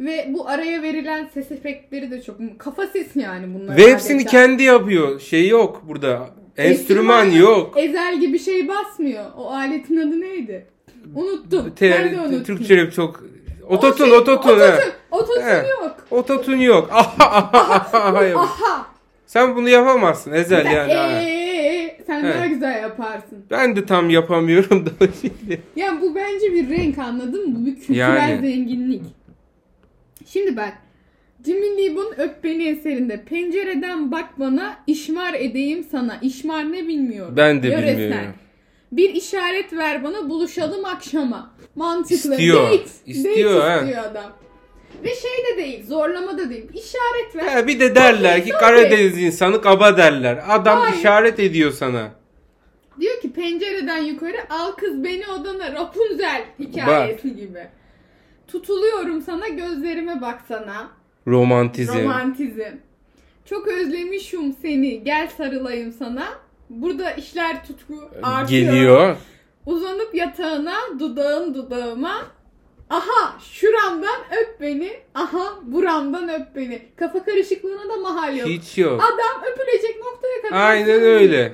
Speaker 2: Ve bu araya verilen ses efektleri de çok kafa sesi yani bunlar.
Speaker 1: Ve hepsini
Speaker 2: gerçekten.
Speaker 1: kendi yapıyor. Şey yok burada. Enstrüman yok.
Speaker 2: Ezel gibi şey basmıyor. O aletin adı neydi? Unuttum.
Speaker 1: Te-
Speaker 2: ben de unuttum.
Speaker 1: Türkçe rap çok
Speaker 2: O
Speaker 1: ototun
Speaker 2: şey-
Speaker 1: ototun. he.
Speaker 2: Ototun. Ototun
Speaker 1: He.
Speaker 2: yok.
Speaker 1: Ototun yok. Aha, aha, aha, aha, yok.
Speaker 2: Aha.
Speaker 1: Sen bunu yapamazsın Ezel
Speaker 2: Sen,
Speaker 1: yani. ha.
Speaker 2: ee, sen
Speaker 1: Evet.
Speaker 2: daha güzel yaparsın.
Speaker 1: Ben de tam yapamıyorum da o şekilde.
Speaker 2: Ya bu bence bir renk anladın mı? Bu bir kültürel
Speaker 1: Yani.
Speaker 2: zenginlik. Şimdi bak. Jimmy Lee Boo'nun Öp Beni eserinde pencereden bak bana işmar edeyim sana. İşmar ne bilmiyorum.
Speaker 1: Ben de
Speaker 2: Yöresel.
Speaker 1: bilmiyorum.
Speaker 2: Bir işaret ver bana buluşalım akşama. Mantıklı.
Speaker 1: İstiyor.
Speaker 2: Date.
Speaker 1: İstiyor,
Speaker 2: Date
Speaker 1: he.
Speaker 2: istiyor adam. Ve şey de değil zorlama da değil. İşaret ver.
Speaker 1: Ha, bir de derler ki Karadeniz insanı kaba derler. Adam
Speaker 2: Hayır.
Speaker 1: işaret ediyor sana.
Speaker 2: Diyor ki pencereden yukarı al kız beni odana Rapunzel hikayesi gibi. Tutuluyorum sana gözlerime baksana.
Speaker 1: Romantizm.
Speaker 2: Romantizm. Çok özlemişim seni gel sarılayım sana. Burada işler tutku artıyor.
Speaker 1: Geliyor.
Speaker 2: Uzanıp yatağına dudağın dudağıma. Aha şuramdan öp beni. Aha buramdan öp beni. Kafa karışıklığına da mahal yok.
Speaker 1: Hiç yok.
Speaker 2: Adam öpülecek noktaya kadar.
Speaker 1: Aynen
Speaker 2: sarılıyor.
Speaker 1: öyle.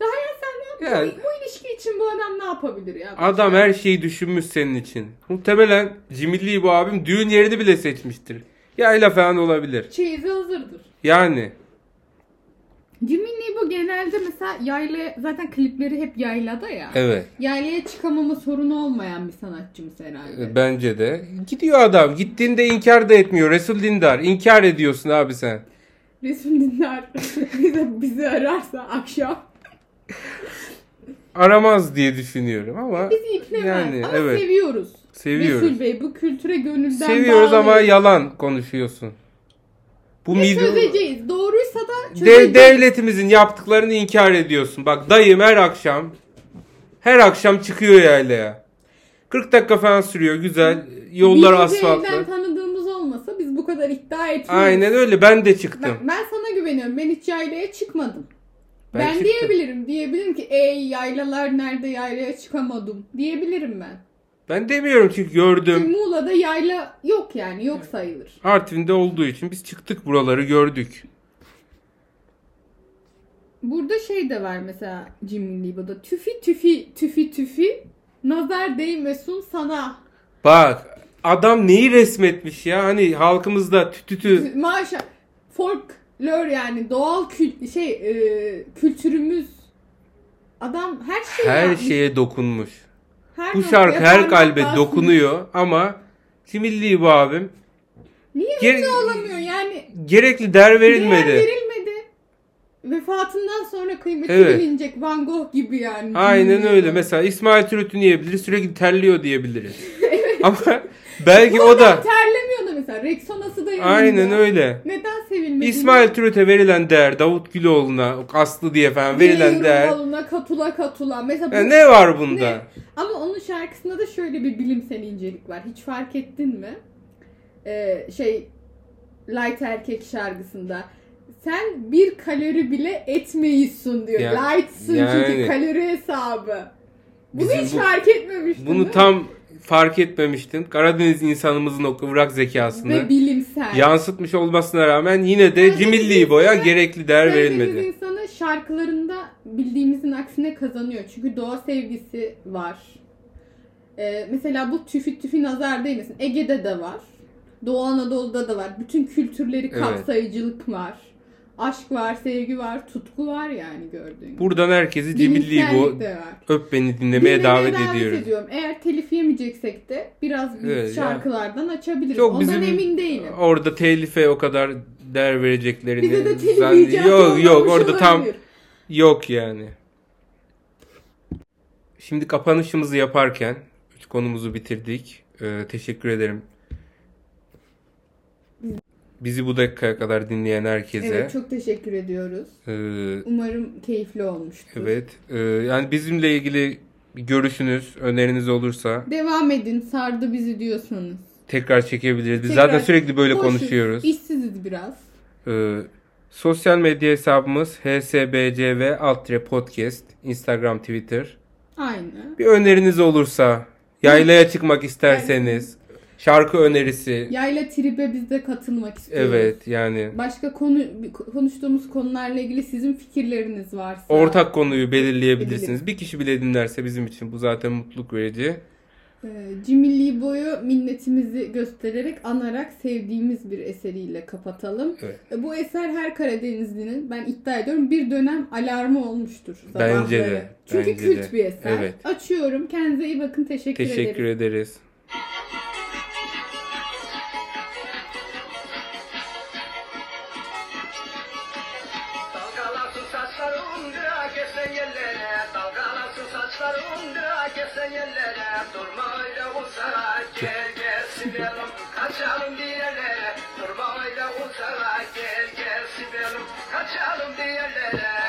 Speaker 2: Daha ya sen ne
Speaker 1: Ya-
Speaker 2: yapıyorsun? Bu ilişki için bu adam ne yapabilir ya?
Speaker 1: Adam her şeyi düşünmüş senin için. Muhtemelen Cimilli bu abim düğün yerini bile seçmiştir. Yayla falan olabilir.
Speaker 2: Çeyizi hazırdır.
Speaker 1: Yani.
Speaker 2: Jimmy bu genelde mesela yayla zaten klipleri hep yaylada ya.
Speaker 1: Evet.
Speaker 2: Yaylaya çıkamama sorunu olmayan bir sanatçımız herhalde.
Speaker 1: E, Bence de. Gidiyor adam. Gittiğinde inkar da etmiyor. Resul Dindar. İnkar ediyorsun abi sen.
Speaker 2: Resul Dindar bize, bizi ararsa akşam
Speaker 1: Aramaz diye düşünüyorum ama
Speaker 2: E, bizi ikna
Speaker 1: yani
Speaker 2: Ama
Speaker 1: evet.
Speaker 2: seviyoruz.
Speaker 1: seviyoruz.
Speaker 2: Resul Bey bu kültüre gönülden
Speaker 1: Seviyoruz ama
Speaker 2: bağlıyız.
Speaker 1: yalan konuşuyorsun. Bu
Speaker 2: Ve
Speaker 1: mid-
Speaker 2: çözeceğiz. Doğruysa da
Speaker 1: De-
Speaker 2: çözeceğiz.
Speaker 1: devletimizin yaptıklarını inkar ediyorsun. Bak dayım her akşam her akşam çıkıyor yaylaya. 40 dakika falan sürüyor güzel. Yollar
Speaker 2: Birinci
Speaker 1: asfaltlı.
Speaker 2: elden tanıdığımız olmasa biz bu kadar iddia etmiyoruz.
Speaker 1: Aynen öyle ben de çıktım.
Speaker 2: Bak ben sana güveniyorum. Ben hiç yaylaya çıkmadım.
Speaker 1: Ben
Speaker 2: Ben,
Speaker 1: çıktım.
Speaker 2: diyebilirim. Diyebilirim ki ey yaylalar nerede yaylaya çıkamadım. Diyebilirim ben.
Speaker 1: Ben demiyorum çünkü gördüm.
Speaker 2: Çünkü Muğla'da yayla yok yani. Yok sayılır.
Speaker 1: Artvin'de olduğu için biz çıktık buraları gördük.
Speaker 2: Burada şey de var mesela Jimmy Libo'da. Tüfi tüfi tüfi tüfi nazar değmesin sana.
Speaker 1: Bak adam neyi resmetmiş ya hani halkımızda tütütü
Speaker 2: Maşa folklor yani doğal kül şey e, kültürümüz adam her şeyi
Speaker 1: her
Speaker 2: yapmış.
Speaker 1: şeye dokunmuş.
Speaker 2: Her
Speaker 1: Bu
Speaker 2: noktaya
Speaker 1: şarkı her
Speaker 2: parmak
Speaker 1: kalbe
Speaker 2: basmış.
Speaker 1: dokunuyor ama Cimilli bu abim
Speaker 2: Niye
Speaker 1: Geri-
Speaker 2: mutlu olamıyor yani?
Speaker 1: gerekli der verilmedi.
Speaker 2: Değer verilmedi. Vefatından sonra kıymeti
Speaker 1: Evet.
Speaker 2: bilinecek Van Gogh gibi yani.
Speaker 1: Aynen
Speaker 2: Bilmiyorum.
Speaker 1: öyle. Mesela İsmail Türüt'ü diyebiliriz. Sürekli terliyor diyebiliriz. Ama belki o da
Speaker 2: Terlemiyor da mesela. Rexonası da yanında.
Speaker 1: aynen öyle.
Speaker 2: Neden sevilmedi?
Speaker 1: İsmail Türüt'e verilen değer, Davut Güloğlu'na, Aslı diye falan verilen değer.
Speaker 2: Alına, katula katula. Mesela bu-
Speaker 1: Ya ne var bunda?
Speaker 2: Ne? Ama onun şarkısında da şöyle bir bilimsel incelik var. Hiç fark ettin mi? Ee, şey Light Erkek şarkısında. Sen bir kalori bile etmeyisin diyor.
Speaker 1: Ya-
Speaker 2: Lightsın
Speaker 1: yani.
Speaker 2: çünkü kalori hesabı. Bunu
Speaker 1: Bizim
Speaker 2: hiç
Speaker 1: bu-
Speaker 2: fark etmemiştin değil mi?
Speaker 1: Bunu tam fark etmemiştim. Karadeniz insanımızın o kıvrak
Speaker 2: ve
Speaker 1: zekasını
Speaker 2: bilimsel.
Speaker 1: yansıtmış olmasına rağmen yine de
Speaker 2: Karadeniz
Speaker 1: Cimilli boya
Speaker 2: insanı-
Speaker 1: gerekli değer verilmedi.
Speaker 2: insanı şarkılarında bildiğimizin aksine kazanıyor. Çünkü doğa sevgisi var. Ee, mesela bu tüfü tüfü nazar değmesin. Ege'de de var. Doğu Anadolu'da da var. Bütün kültürleri
Speaker 1: Evet.
Speaker 2: kapsayıcılık var. Aşk var, sevgi var, tutku var yani gördüğün. gibi.
Speaker 1: Buradan herkesi Cimilli bu
Speaker 2: Bilimsellik de var.
Speaker 1: öp beni dinlemeye
Speaker 2: Dinlemeye
Speaker 1: davet ediyoruz.
Speaker 2: ediyorum. Eğer telif yemeyeceksek de biraz
Speaker 1: Evet, yani-
Speaker 2: şarkılardan açabilirim.
Speaker 1: Çok
Speaker 2: Ondan
Speaker 1: bizim
Speaker 2: emin değilim.
Speaker 1: Orada telife o kadar değer vereceklerini.
Speaker 2: Bize de telif
Speaker 1: zan-
Speaker 2: icatı
Speaker 1: Yok yok
Speaker 2: olmamış
Speaker 1: orada tam
Speaker 2: olabilir.
Speaker 1: yok yani. Şimdi kapanışımızı yaparken üç konumuzu bitirdik. Ee, teşekkür ederim Bizi bu dakikaya kadar dinleyen herkese.
Speaker 2: Evet çok teşekkür ediyoruz.
Speaker 1: Ee,
Speaker 2: Umarım keyifli olmuştur.
Speaker 1: evet. Ee, yani bizimle ilgili bir görüşünüz, öneriniz olursa
Speaker 2: Devam edin sardı bizi diyorsanız.
Speaker 1: tekrar çekebiliriz. Biz
Speaker 2: Tekrar-
Speaker 1: zaten sürekli böyle
Speaker 2: Boşuz,
Speaker 1: konuşuyoruz.
Speaker 2: İşsiziz biraz.
Speaker 1: Ee, sosyal medya hesabımız hsbcv alt podcast, Instagram, Twitter.
Speaker 2: Aynı.
Speaker 1: Bir öneriniz olursa, yaylaya çıkmak isterseniz, şarkı önerisi.
Speaker 2: Yayla tribe biz de katılmak istiyoruz.
Speaker 1: Evet yani
Speaker 2: Başka konu konuştuğumuz konularla ilgili sizin fikirleriniz varsa.
Speaker 1: ortak konuyu belirleyebilirsiniz. Bir kişi bile dinlerse bizim için bu zaten mutluluk verici.
Speaker 2: Ee, Cimilli Boy'u minnetimizi göstererek, anarak sevdiğimiz bir eseriyle kapatalım.
Speaker 1: Evet.
Speaker 2: Ee, Bu eser her Karadenizli'nin ben iddia ediyorum bir dönem alarmı olmuştur.
Speaker 1: Bence
Speaker 2: sabahları.
Speaker 1: de,
Speaker 2: Çünkü
Speaker 1: bence
Speaker 2: kült
Speaker 1: de.
Speaker 2: bir eser.
Speaker 1: Evet.
Speaker 2: Açıyorum. Kendinize iyi bakın. Teşekkür,
Speaker 1: Teşekkür
Speaker 2: ederim.
Speaker 1: ederiz.
Speaker 3: Dalgalansın saçlarımda kesen yerlere Dalgalansın saçlarımda kesen yerlere Durma öyle uzara gel gel silelim Kaçalım bir yerlere Durma öyle uzara gel gel silelim Kaçalım bir yerlere